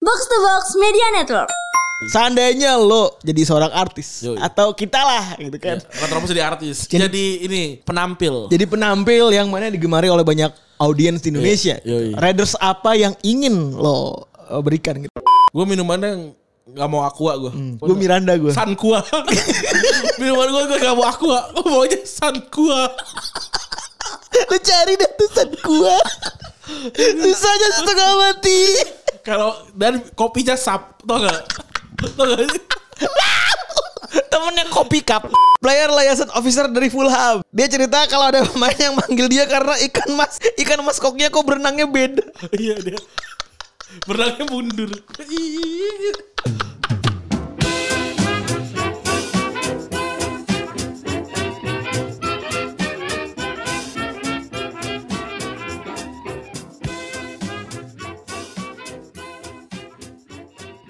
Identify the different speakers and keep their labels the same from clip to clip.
Speaker 1: Box to Box Media Network.
Speaker 2: Seandainya lo jadi seorang artis
Speaker 3: Yoi. Iya.
Speaker 2: atau kita lah gitu kan.
Speaker 3: Retropus jadi artis.
Speaker 2: Jadi-
Speaker 3: Jadi, ini penampil.
Speaker 2: Jadi penampil yang mana digemari oleh banyak audiens di Indonesia.
Speaker 3: Iya, Yoi.
Speaker 2: Riders apa yang ingin lo eh, berikan gitu.
Speaker 3: Gue minumannya yang nggak mau aqua gue.
Speaker 2: Gue Miranda gue.
Speaker 3: San Kua. Minuman gue gue gak mau aqua. Gue maunya San Kua.
Speaker 2: lo cari dah tusan gua. Susahnya setengah mati.
Speaker 3: Kalau dan kopinya sap, tau gak? tau gak? sih?
Speaker 2: Temennya kopi cup. Player liaison officer dari Fulham. Dia cerita kalau ada pemain yang manggil dia karena ikan mas ikan mas koknya kok berenangnya beda.
Speaker 3: Iya dia. Berenangnya mundur. Ih.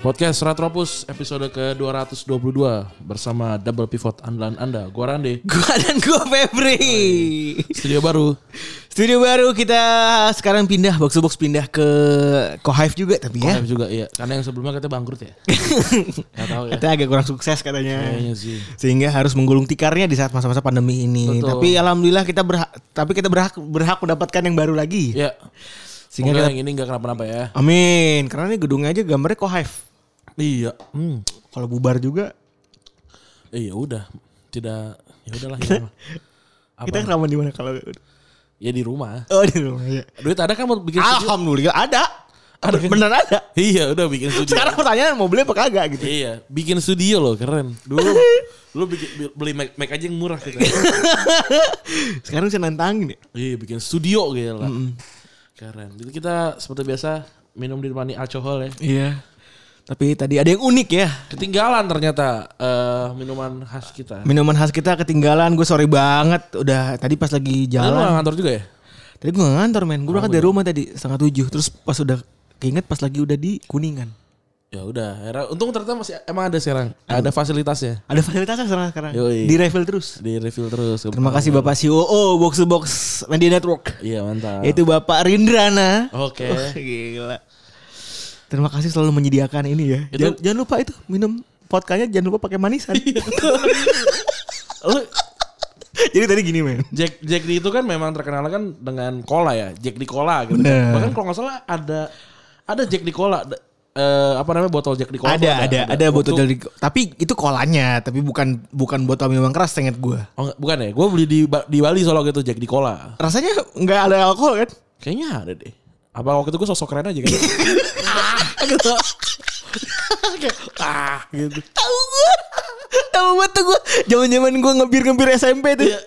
Speaker 3: Podcast Retropus episode ke-222 bersama Double Pivot andalan Anda, gua Rande.
Speaker 2: Gua dan gua Febri.
Speaker 3: Studio baru.
Speaker 2: Studio baru kita sekarang pindah box to box pindah ke Kohive juga tapi ya.
Speaker 3: Live juga iya, karena yang sebelumnya katanya bangkrut ya. Gak tahu ya.
Speaker 2: Katanya agak kurang sukses katanya.
Speaker 3: Kayaknya sih.
Speaker 2: Sehingga harus menggulung tikarnya di saat masa-masa pandemi ini.
Speaker 3: Betul.
Speaker 2: Tapi alhamdulillah kita berhak tapi kita berhak berhak mendapatkan yang baru lagi.
Speaker 3: Ya.
Speaker 2: Sehingga
Speaker 3: Semoga
Speaker 2: kita-
Speaker 3: yang ini gak kenapa-napa ya.
Speaker 2: Amin. Karena ini gedungnya aja gambarnya kohive.
Speaker 3: Iya. Hmm.
Speaker 2: Kalau bubar juga
Speaker 3: Iya udah. Tidak ya udahlah hilang lah. Apa?
Speaker 2: kita keraman di mana kalau
Speaker 3: Ya di rumah.
Speaker 2: Oh di rumah ya.
Speaker 3: Duit ada kan buat bikin
Speaker 2: Ah.
Speaker 3: studio?
Speaker 2: Alhamdulillah ada.
Speaker 3: Ada.
Speaker 2: Bener ada.
Speaker 3: Iya, udah bikin studio.
Speaker 2: Sekarang pertanyaan mau beli apa kagak gitu.
Speaker 3: Iya, bikin studio loh, keren. Dulu lu bikin- beli mic, mic aja yang murah gitu.
Speaker 2: Sekarang bisa nantangin ya.
Speaker 3: iya, bikin studio gila. Keren. Jadi kita seperti biasa minum ditemani alkohol ya.
Speaker 2: Iya. Tapi tadi ada yang unik ya.
Speaker 3: Ketinggalan ternyata eh, minuman khas kita.
Speaker 2: Minuman khas kita ketinggalan. Gue sorry banget. Udah tadi pas lagi
Speaker 3: Lu
Speaker 2: jalan.
Speaker 3: nggak kantor juga ya?
Speaker 2: Tadi gue gak ngantor men. Gue berangkat dari rumah tadi setengah tujuh. Terus pas udah keinget pas lagi udah di Kuningan.
Speaker 3: Ya udah, era untung ternyata masih emang ada sekarang. Ada fasilitasnya.
Speaker 2: Ada fasilitasnya sekarang sekarang.
Speaker 3: Yoi.
Speaker 2: Di refill terus.
Speaker 3: Di refill terus.
Speaker 2: Terima kasih Bapak COO Box to Box Media Network.
Speaker 3: Iya, mantap.
Speaker 2: Yaitu Bapak Rindrana.
Speaker 3: Oke.
Speaker 2: Wah, Gila. Terima kasih selalu menyediakan ini ya.
Speaker 3: Itu-
Speaker 2: Jangan, jangan lupa itu minum vodkanya jangan lupa pakai manisan.
Speaker 3: Lu
Speaker 2: Jadi tadi gini men.
Speaker 3: Jack Jack D itu kan memang terkenal kan dengan cola ya, Jack di cola gitu.
Speaker 2: Bener.
Speaker 3: Kan. Bahkan kalau nggak salah ada ada Jack di cola da- eh, apa namanya botol Jack di cola. tuh
Speaker 2: ada, ada, ada, botol
Speaker 3: Untuk-
Speaker 2: dari tapi itu kolanya, tapi bukan bukan botol minuman keras inget gue.
Speaker 3: Oh, nggak, bukan ya, gue beli di Ba- di Bali soalnya gitu Jack di cola.
Speaker 2: Rasanya nggak ada alkohol kan?
Speaker 3: Kayaknya ada deh. Apa waktu itu gue sosok keren aja kan? ah, gitu. Kayak, ah, gitu.
Speaker 2: Tahu gue. Tahu banget tuh gue. Zaman-zaman gue ngebir-ngebir SMP tuh.
Speaker 3: Ya,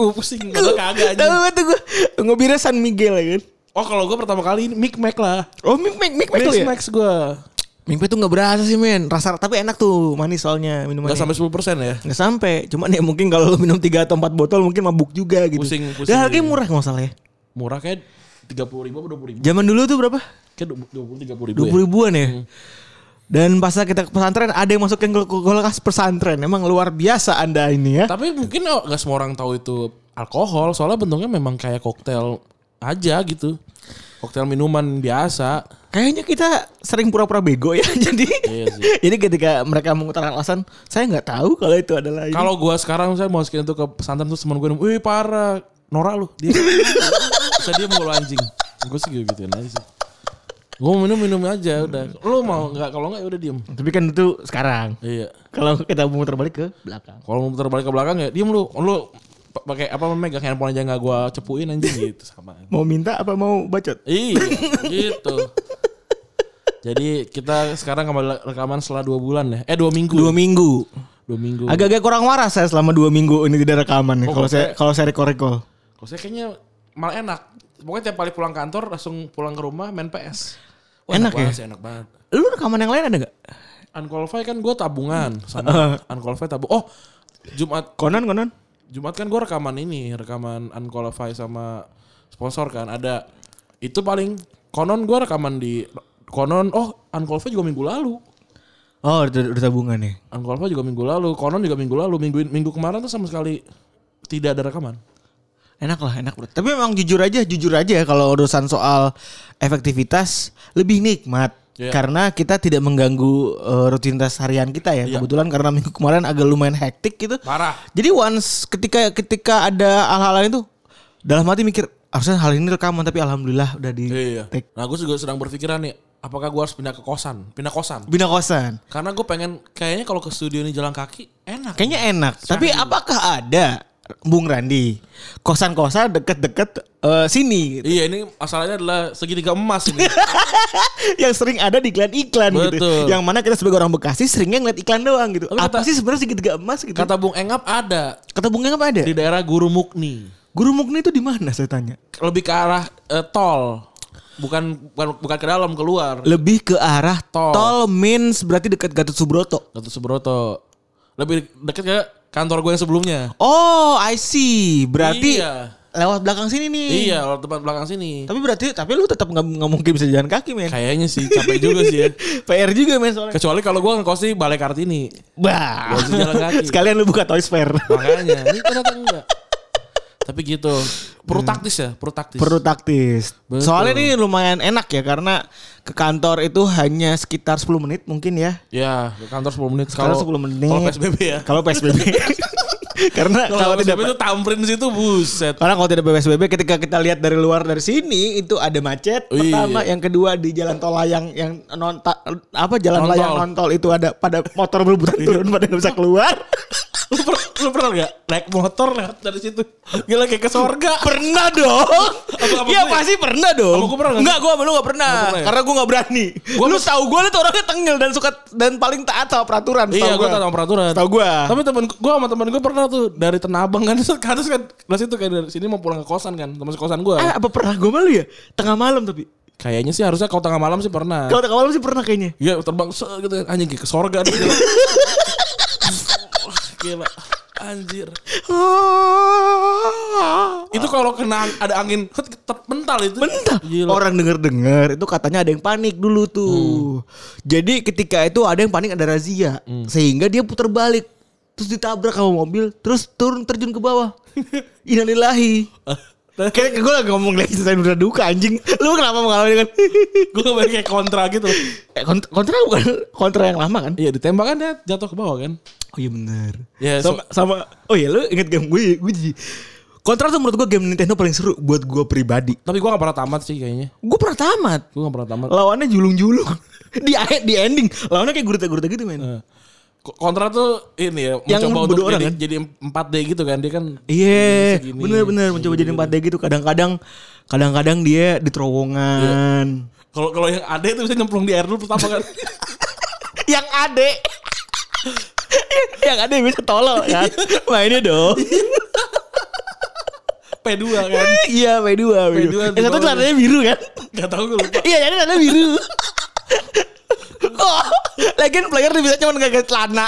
Speaker 3: uh, pusing, gak kagak
Speaker 2: Tahu
Speaker 3: aja.
Speaker 2: banget tuh gue. Ngebirnya San Miguel ya kan.
Speaker 3: Oh kalau gue pertama kali ini Mic Mac lah.
Speaker 2: Oh, Mic Mac, Mic Mac
Speaker 3: Mic
Speaker 2: tuh ya?
Speaker 3: Mac gue.
Speaker 2: Mic Mac tuh gak berasa sih men. Rasa tapi enak tuh, manis soalnya minumannya.
Speaker 3: Gak sampai 10% ya.
Speaker 2: Nggak sampai. Cuman ya mungkin kalau lu minum 3 atau 4 botol mungkin mabuk juga gitu.
Speaker 3: Pusing, pusing.
Speaker 2: Dan harganya murah kalau nggak salah ya.
Speaker 3: Murah kayak 30 ribu atau 20 ribu.
Speaker 2: Zaman dulu tuh berapa?
Speaker 3: Kayak 20 30 ribu.
Speaker 2: 20 ribuan ya. Dan pas kita ke pesantren ada yang masukin ke ke kulkas pesantren. Emang luar biasa Anda ini ya.
Speaker 3: Tapi mungkin oh, nggak semua orang tahu itu alkohol, soalnya bentuknya memang kayak koktail aja gitu. Koktail minuman biasa.
Speaker 2: Kayaknya kita sering pura-pura bego ya. Jadi
Speaker 3: Iya sih.
Speaker 2: jadi ketika mereka mengutarakan alasan, saya nggak tahu kalau itu adalah ini.
Speaker 3: Kalau gua sekarang saya masukin itu ke pesantren terus temen gue, "Wih, parah. Nora lu." Dia. Bisa dia mulu anjing. Gue sih gitu-gituin aja sih. Gue minum-minum aja udah. Lu mau nggak? Kalau nggak ya udah diem.
Speaker 2: Tapi kan itu sekarang.
Speaker 3: Iya.
Speaker 2: Kalau kita muter balik ke belakang.
Speaker 3: Kalau mau putar balik ke belakang ya diem lu. Lu p- pakai apa memegang handphone aja nggak gua cepuin anjing gitu sama.
Speaker 2: Mau minta apa mau bacot?
Speaker 3: Iya, gitu. Jadi kita sekarang kembali rekaman setelah dua bulan ya. Eh dua minggu.
Speaker 2: Dua minggu.
Speaker 3: Dua minggu.
Speaker 2: Agak-agak kurang waras saya selama dua minggu ini tidak rekaman nih.
Speaker 3: Oh,
Speaker 2: kalau saya
Speaker 3: oke.
Speaker 2: kalau saya rekor rekor.
Speaker 3: Kalau saya kayaknya malah enak. Pokoknya tiap kali pulang kantor langsung pulang ke rumah main PS. Wah,
Speaker 2: Enak ya?
Speaker 3: banget sih, enak banget.
Speaker 2: Lu rekaman yang lain ada nggak?
Speaker 3: Unqualified kan gue tabungan sama
Speaker 2: Uh-huh.
Speaker 3: unqualified tabung. Oh, Jumat
Speaker 2: Konon konon.
Speaker 3: Jumat kan gue rekaman ini, rekaman unqualified sama sponsor kan ada. Itu paling konon gue rekaman di konon oh unqualified juga minggu lalu.
Speaker 2: Oh udah, udah tabungan nih.
Speaker 3: Angkolva juga minggu lalu, Konon juga minggu lalu, minggu minggu kemarin tuh sama sekali tidak ada rekaman.
Speaker 2: Enak lah enak. bro. ya, Tapi memang jujur aja jujur aja kalau urusan soal efektivitas lebih nikmat
Speaker 3: Iya.
Speaker 2: karena kita tidak mengganggu eh, rutinitas harian kita
Speaker 3: Iya.
Speaker 2: ya. Kebetulan karena minggu kemarin agak lumayan hektik gitu.
Speaker 3: Parah.
Speaker 2: Jadi once ketika ketika ada hal-hal itu dalam hati mikir harusnya hal ini rekaman tapi alhamdulillah udah di
Speaker 3: Iya.
Speaker 2: take.
Speaker 3: Nah gue juga sedang berpikiran nih, apakah gue harus pindah ke kosan? Pindah kosan.
Speaker 2: Bina kosan.
Speaker 3: Karena gue pengen, kayaknya kalau ke studio ini jalan kaki enak.
Speaker 2: Kayaknya enak.
Speaker 3: Iya.
Speaker 2: Tapi apakah ada Bung Randi kosan-kosan deket-deket eh, sini
Speaker 3: Iya ini masalahnya adalah segitiga emas ini.
Speaker 2: yang sering ada di iklan-iklan gitu.
Speaker 3: Betul.
Speaker 2: Yang mana kita sebagai orang Bekasi seringnya ngeliat iklan doang gitu.
Speaker 3: Tapi
Speaker 2: Apa
Speaker 3: kata-
Speaker 2: sih sebenarnya segitiga emas gitu? Kata,
Speaker 3: Kata Bung Engap ada
Speaker 2: Bung Engap ada?
Speaker 3: di daerah Guru Mukni.
Speaker 2: Guru Mukni itu di mana saya tanya?
Speaker 3: Lebih ke arah eh, tol, bukan bukan bukan ke dalam keluar.
Speaker 2: Lebih ke arah tol.
Speaker 3: Tol.
Speaker 2: means berarti dekat Gatot Subroto.
Speaker 3: Gatot Subroto. Lebih deket ke kantor gue yang sebelumnya.
Speaker 2: Oh, I see. Berarti
Speaker 3: Iya.
Speaker 2: lewat belakang sini nih.
Speaker 3: Iya, lewat tempat belakang sini.
Speaker 2: Tapi berarti tapi lu tetap nggak nggak mungkin bisa jalan kaki, men.
Speaker 3: Kayaknya sih capek juga sih ya.
Speaker 2: PR juga men soalnya.
Speaker 3: Kecuali kalau gue ngekos di Balai Kartini.
Speaker 2: Bah.
Speaker 3: Gak usah jalan kaki.
Speaker 2: Sekalian lu buka Toys Fair.
Speaker 3: Makanya, ini ternyata enggak. Tapi gitu, perlu taktis ya, perlu taktis.
Speaker 2: Hmm. Perlu taktis.
Speaker 3: Betul.
Speaker 2: Soalnya ini lumayan enak ya karena ke kantor itu hanya sekitar 10 menit mungkin ya.
Speaker 3: Ya, ke kantor 10 menit.
Speaker 2: Kalau
Speaker 3: Kalau
Speaker 2: 10 menit.
Speaker 3: Kalau PSBB ya.
Speaker 2: Kalau PSBB. karena
Speaker 3: Kalau
Speaker 2: kalau
Speaker 3: PSBB
Speaker 2: tidak
Speaker 3: itu tamprin situ buset.
Speaker 2: karena kalau tidak PSBB ketika kita lihat dari luar dari sini itu ada macet
Speaker 3: Iya.
Speaker 2: pertama, yang kedua di jalan tol layang yang non ta- apa jalan
Speaker 3: Non-tol.
Speaker 2: layang non tol itu ada pada motor berbutan
Speaker 3: Iya.
Speaker 2: turun pada nggak bisa keluar.
Speaker 3: Lu, per- lu pernah gak naik motor lewat dari situ? Gila kayak ke sorga.
Speaker 2: Pernah dong.
Speaker 3: Apa- apa
Speaker 2: Iya
Speaker 3: gue ya?
Speaker 2: pasti pernah dong.
Speaker 3: Apa gue pernah nggak sih?
Speaker 2: Enggak, gue belum gak pernah.
Speaker 3: Nggak pernah ya?
Speaker 2: Karena gue gak berani.
Speaker 3: Gua
Speaker 2: lu tahu gue tuh orangnya tengil dan suka dan paling taat sama peraturan.
Speaker 3: Iya, gue tahu sama peraturan.
Speaker 2: Tahu gue.
Speaker 3: Tapi temen gue sama temen gue pernah tuh dari Tenabang kan, terus kan dari situ kayak dari sini mau pulang ke kosan kan, teman kosan gue.
Speaker 2: Eh, apa pernah gue malu ya? Tengah malam tapi.
Speaker 3: Ah. Kayaknya sih harusnya kalau tengah malam sih pernah.
Speaker 2: Kalau tengah malam sih pernah kayaknya.
Speaker 3: Iya terbang se gitu kan. anjing kayak ke sorga nih. Gila. Gila. Anjir. Itu kalau kena ada angin hut, ter- mental itu.
Speaker 2: Bentar.
Speaker 3: Gila.
Speaker 2: Orang denger-dengar itu katanya ada yang panik dulu tuh.
Speaker 3: Hmm.
Speaker 2: Jadi ketika itu ada yang panik ada razia. Sehingga dia putar balik. Terus ditabrak sama mobil. Terus turun terjun ke bawah. Innalillahi. Kayak gue lagi ngomong lagi saya udah duka anjing. Lu kenapa mengalami dengan
Speaker 3: Gue kebayang kayak kontra gitu.
Speaker 2: Eh, kont- kontra bukan kontra yang lama kan?
Speaker 3: Iya ditembak kan dia jatuh ke bawah kan.
Speaker 2: Oh iya benar.
Speaker 3: Ya,
Speaker 2: sama,
Speaker 3: so-
Speaker 2: sama oh iya lu inget game gue gue jadi kontra tuh menurut gue game Nintendo paling seru buat gue pribadi.
Speaker 3: Tapi gue gak pernah tamat sih kayaknya.
Speaker 2: Gue pernah tamat.
Speaker 3: Gue gak pernah tamat.
Speaker 2: lawannya julung-julung di akhir- di ending lawannya kayak gurita-gurita gitu men
Speaker 3: Eh, ko- Kontra tuh ini ya.
Speaker 2: Yang
Speaker 3: mencoba
Speaker 2: bodoh
Speaker 3: untuk
Speaker 2: orang
Speaker 3: jadi,
Speaker 2: kan?
Speaker 3: jadi 4D gitu kan. Dia kan
Speaker 2: iya
Speaker 3: segini,
Speaker 2: bener-bener mencoba jadi 4D gitu kadang-kadang kadang-kadang dia di terowongan
Speaker 3: kalau kalau yang ada itu bisa nyemplung di air dulu pertama kan.
Speaker 2: yang ade yang ade bisa tolol kan mainnya dong
Speaker 3: P2 kan.
Speaker 2: iya main dua main
Speaker 3: dua
Speaker 2: dua
Speaker 3: di
Speaker 2: yang satu
Speaker 3: bawah.
Speaker 2: celananya biru kan
Speaker 3: Gak tau gue lupa.
Speaker 2: iya jadi celananya biru oh lagian player dia bisa cuma kagak celana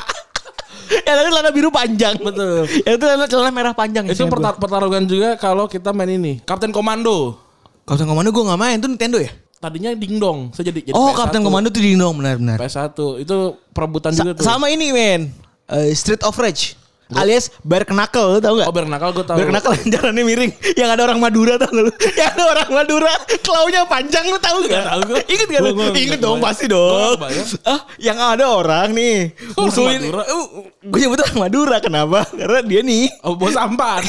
Speaker 2: yang tadi celana biru panjang
Speaker 3: Betul.
Speaker 2: yang itu celana- celana merah panjang ingat
Speaker 3: Itu
Speaker 2: gua.
Speaker 3: pertar- pertarungan juga kalau kita main ini. Kapten Komando.
Speaker 2: Kapten Komando gue gak main tuh Nintendo ya?
Speaker 3: Tadinya dingdong, saya jadi jadi
Speaker 2: oh
Speaker 3: PS1.
Speaker 2: Kapten Komando tuh di Indong benar-benar.
Speaker 3: PS1 itu perebutan juga tuh.
Speaker 2: Sama ini men, Eh, Street of Rage alias Bare Knuckle lu tau gak?
Speaker 3: Oh, Bare Knuckle gua tahu.
Speaker 2: Bare Knuckle yang jalannya miring, yang ada orang Madura tau gak lu? Yang ada orang Madura, klaunya panjang lu tau gak?
Speaker 3: tahu gua.
Speaker 2: Ingat gak lu?
Speaker 3: Gua- gua nggak
Speaker 2: Ingat dong
Speaker 3: kebayang.
Speaker 2: pasti
Speaker 3: Gua
Speaker 2: dong.
Speaker 3: nggak kebayang.
Speaker 2: Ah, yang ada orang nih
Speaker 3: Orang
Speaker 2: musuhin.
Speaker 3: Madura.
Speaker 2: Gue nyebut orang Madura kenapa? Karena dia nih
Speaker 3: Oh, bos sampan.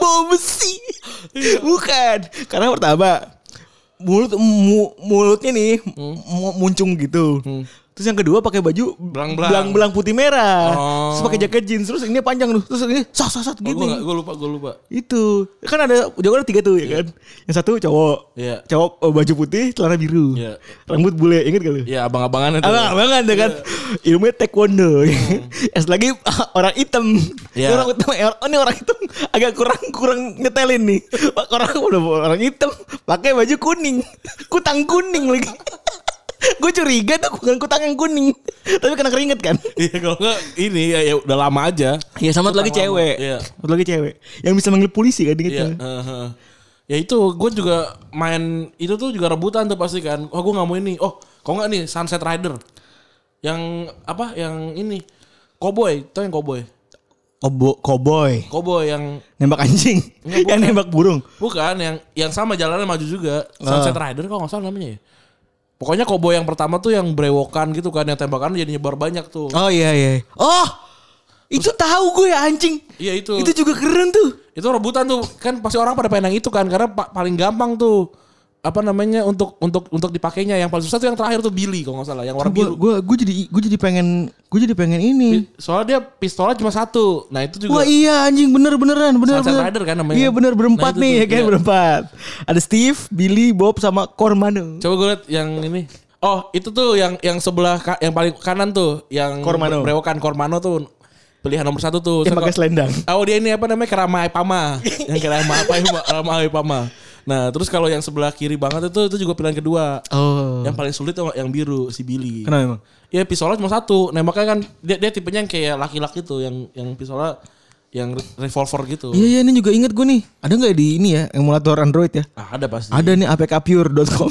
Speaker 2: bau besi.
Speaker 3: Iya.
Speaker 2: Bukan. Karena pertama mulut mu- mulutnya nih
Speaker 3: Hmm.
Speaker 2: mu- muncung gitu. Terus yang kedua pakai baju
Speaker 3: Belang-belang.
Speaker 2: belang-belang putih merah.
Speaker 3: Oh.
Speaker 2: Terus pakai jaket jeans terus ini panjang tuh. Terus ini sot sot sot
Speaker 3: Oh, gua,
Speaker 2: gini.
Speaker 3: nggak- gua lupa, gua lupa.
Speaker 2: itu kan ada jagoan ada tiga tuh ya kan yang satu cowok
Speaker 3: Iya.
Speaker 2: cowok eh, baju putih celana biru
Speaker 3: Iya.
Speaker 2: rambut bule inget gak lu
Speaker 3: Ya, abang-abangan itu.
Speaker 2: Abang abangan tuh kan ilmunya taekwondo. Es lagi ah, orang hitam.
Speaker 3: Iya.
Speaker 2: Ini Orang hitam oh, ini orang hitam agak kurang kurang nyetelin nih. Orang udah orang hitam pakai baju kuning. Kutang kuning lagi. gue curiga tuh bukan kutang yang kuning. Tapi kena keringet kan.
Speaker 3: Iya, kalau enggak ini ya, ya udah lama aja.
Speaker 2: Iya sama satu lagi
Speaker 3: Kutang lama.
Speaker 2: cewek.
Speaker 3: Iya.
Speaker 2: Satu lagi cewek yang bisa manggil polisi kan inget
Speaker 3: Iya,
Speaker 2: kan?
Speaker 3: heeh. Ya itu gue juga main itu tuh juga rebutan tuh pasti kan. Oh gue nggak mau ini. Oh kok nggak nih Sunset Rider yang apa yang ini Cowboy itu yang Cowboy.
Speaker 2: Kobo, koboy.
Speaker 3: Kobo yang
Speaker 2: Oh, Nembak anjing.
Speaker 3: Enggak,
Speaker 2: yang
Speaker 3: bukan.
Speaker 2: nembak burung.
Speaker 3: bukan yang yang sama jalannya maju juga. Sunset
Speaker 2: Ah.
Speaker 3: Rider kalau nggak salah namanya ya. Pokoknya Kobo yang pertama tuh yang brewokan gitu kan yang tembakan jadi nyebar banyak tuh.
Speaker 2: Oh iya iya. Oh! Itu tahu gue ya anjing.
Speaker 3: Iya itu.
Speaker 2: Itu juga keren tuh.
Speaker 3: itu rebutan tuh kan pasti orang pada pengen yang itu kan karena pa- paling gampang tuh apa namanya untuk untuk untuk dipakainya yang paling susah tuh yang terakhir tuh Billy kalau nggak salah yang warna
Speaker 2: Gue
Speaker 3: biru
Speaker 2: gue gue jadi gue jadi pengen gue jadi pengen ini.
Speaker 3: soalnya dia pistolnya cuma satu nah itu juga
Speaker 2: Wah iya anjing bener beneran bener
Speaker 3: Sunset
Speaker 2: bener.
Speaker 3: Rider kan namanya.
Speaker 2: Iya bener berempat
Speaker 3: Nah, itu
Speaker 2: nih
Speaker 3: tuh,
Speaker 2: ya kan
Speaker 3: iya.
Speaker 2: berempat. Ada Steve, Billy, Bob sama Cormano.
Speaker 3: coba gue liat yang ini oh itu tuh yang yang sebelah ka- yang paling kanan tuh yang
Speaker 2: Cormano.
Speaker 3: brewokan Cormano tuh pilihan nomor satu tuh
Speaker 2: Yang
Speaker 3: Saya
Speaker 2: pakai
Speaker 3: kok-
Speaker 2: selendang.
Speaker 3: Oh dia ini apa namanya keramai pama yang keramai pama keramai pama nah terus kalau yang sebelah kiri banget itu itu juga pilihan kedua
Speaker 2: Oh.
Speaker 3: yang paling sulit tuh yang biru si Billy
Speaker 2: Kenapa emang?
Speaker 3: Ya pistolnya cuma satu. Nembaknya kan dia, dia tipenya yang kayak laki-laki tuh yang yang pistolnya yang re- revolver gitu.
Speaker 2: Iya iya ini juga inget gue nih. Ada nggak di ini ya emulator Android ya?
Speaker 3: Ah, ada pasti.
Speaker 2: Ada nih apkpure.com.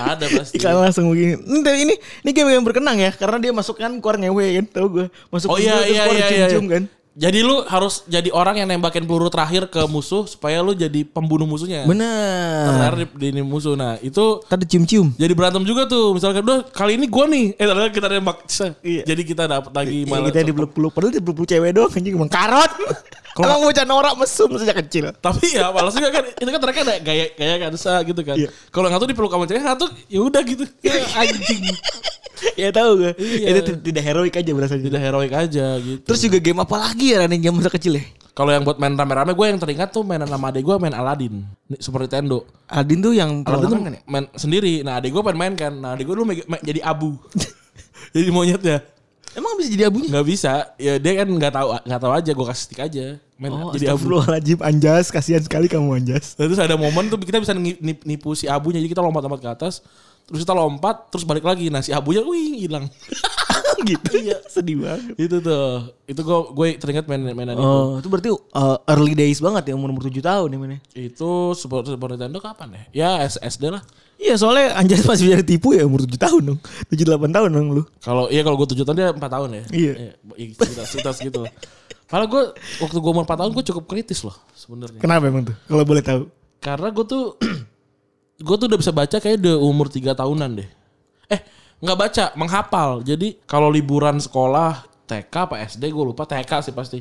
Speaker 3: Ada pasti.
Speaker 2: Iklan langsung begini. Ini ini, ini game yang berkenang ya karena dia masuk kan keluar ngewe kan tau gue. Masuk
Speaker 3: oh
Speaker 2: video,
Speaker 3: iya
Speaker 2: terus
Speaker 3: iya
Speaker 2: keluar
Speaker 3: iya. iya.
Speaker 2: cium-cium kan.
Speaker 3: Jadi lu harus jadi orang yang nembakin peluru terakhir ke musuh supaya lu jadi pembunuh musuhnya.
Speaker 2: Benar.
Speaker 3: Terakhir di, di musuh. Nah, itu
Speaker 2: Tadi cium-cium.
Speaker 3: jadi berantem juga tuh. Misalkan udah kali ini gua nih. Eh ternyata kita nembak.
Speaker 2: Iya.
Speaker 3: Jadi kita dapat lagi
Speaker 2: Iya
Speaker 3: malah.
Speaker 2: kita dipeluk-peluk Padahal dipeluk-peluk cewek doang Anjing emang karot Emang bocah norak mesum sejak kecil
Speaker 3: tapi ya malas juga kan itu kan mereka ada gaya gaya kansa gitu kan
Speaker 2: Iya.
Speaker 3: kalau nggak tuh dipeluk sama cewek nggak tuh ya udah gitu Ya, anjing
Speaker 2: Ya tahu gue
Speaker 3: Iya.
Speaker 2: Itu tid- tidak heroik aja berasanya
Speaker 3: tidak heroik aja gitu.
Speaker 2: Terus juga game apa lagi ya Rani Game masa kecil ya
Speaker 3: kalau yang buat main rame-rame gue yang teringat tuh mainan sama adek gue main Aladdin Ni- Super Nintendo.
Speaker 2: Aldin tuh yang
Speaker 3: Aladdin tuh
Speaker 2: perlawanan kan ya
Speaker 3: main sendiri. Nah, adek gue pengen main kan. Nah, adek gue dulu meg- main- jadi abu. jadi monyet ya.
Speaker 2: Emang bisa jadi abunya
Speaker 3: Nggak bisa. Ya dia kan nggak tahu nggak tahu aja gue kasih stick aja. Main
Speaker 2: Oh,
Speaker 3: jadi abu.
Speaker 2: Astagfirullahaladzim Anjas Kasihan sekali kamu Anjas
Speaker 3: Nah, terus ada momen tuh kita bisa ngi- nip- nipu si abunya jadi kita lompat-lompat ke atas. Terus kita lompat, terus balik lagi. Nah, si abunya wih hilang.
Speaker 2: Gitu ya Sedih banget
Speaker 3: itu tuh. Itu gue gue teringat main mainan itu.
Speaker 2: Oh, itu berarti uh, early days banget ya umur umur tujuh tahun ya mana?
Speaker 3: Itu Super, Super Nintendo kapan ya? Ya SD lah.
Speaker 2: Iya soalnya Anjas masih bisa ditipu ya umur 7 tahun dong, 7 8 tahun dong lu.
Speaker 3: Kalau iya kalau gue tujuh tahun dia empat tahun ya.
Speaker 2: Iya.
Speaker 3: Iya, sekitar, sekitar segitu. Padahal gue waktu gue umur empat tahun gue cukup kritis loh sebenarnya.
Speaker 2: Kenapa emang tuh? Kalau boleh tahu.
Speaker 3: Karena gue tuh gue tuh udah bisa baca kayak udah umur tiga tahunan deh. Eh nggak baca menghafal. Jadi kalau liburan sekolah TK apa SD gue lupa TK sih pasti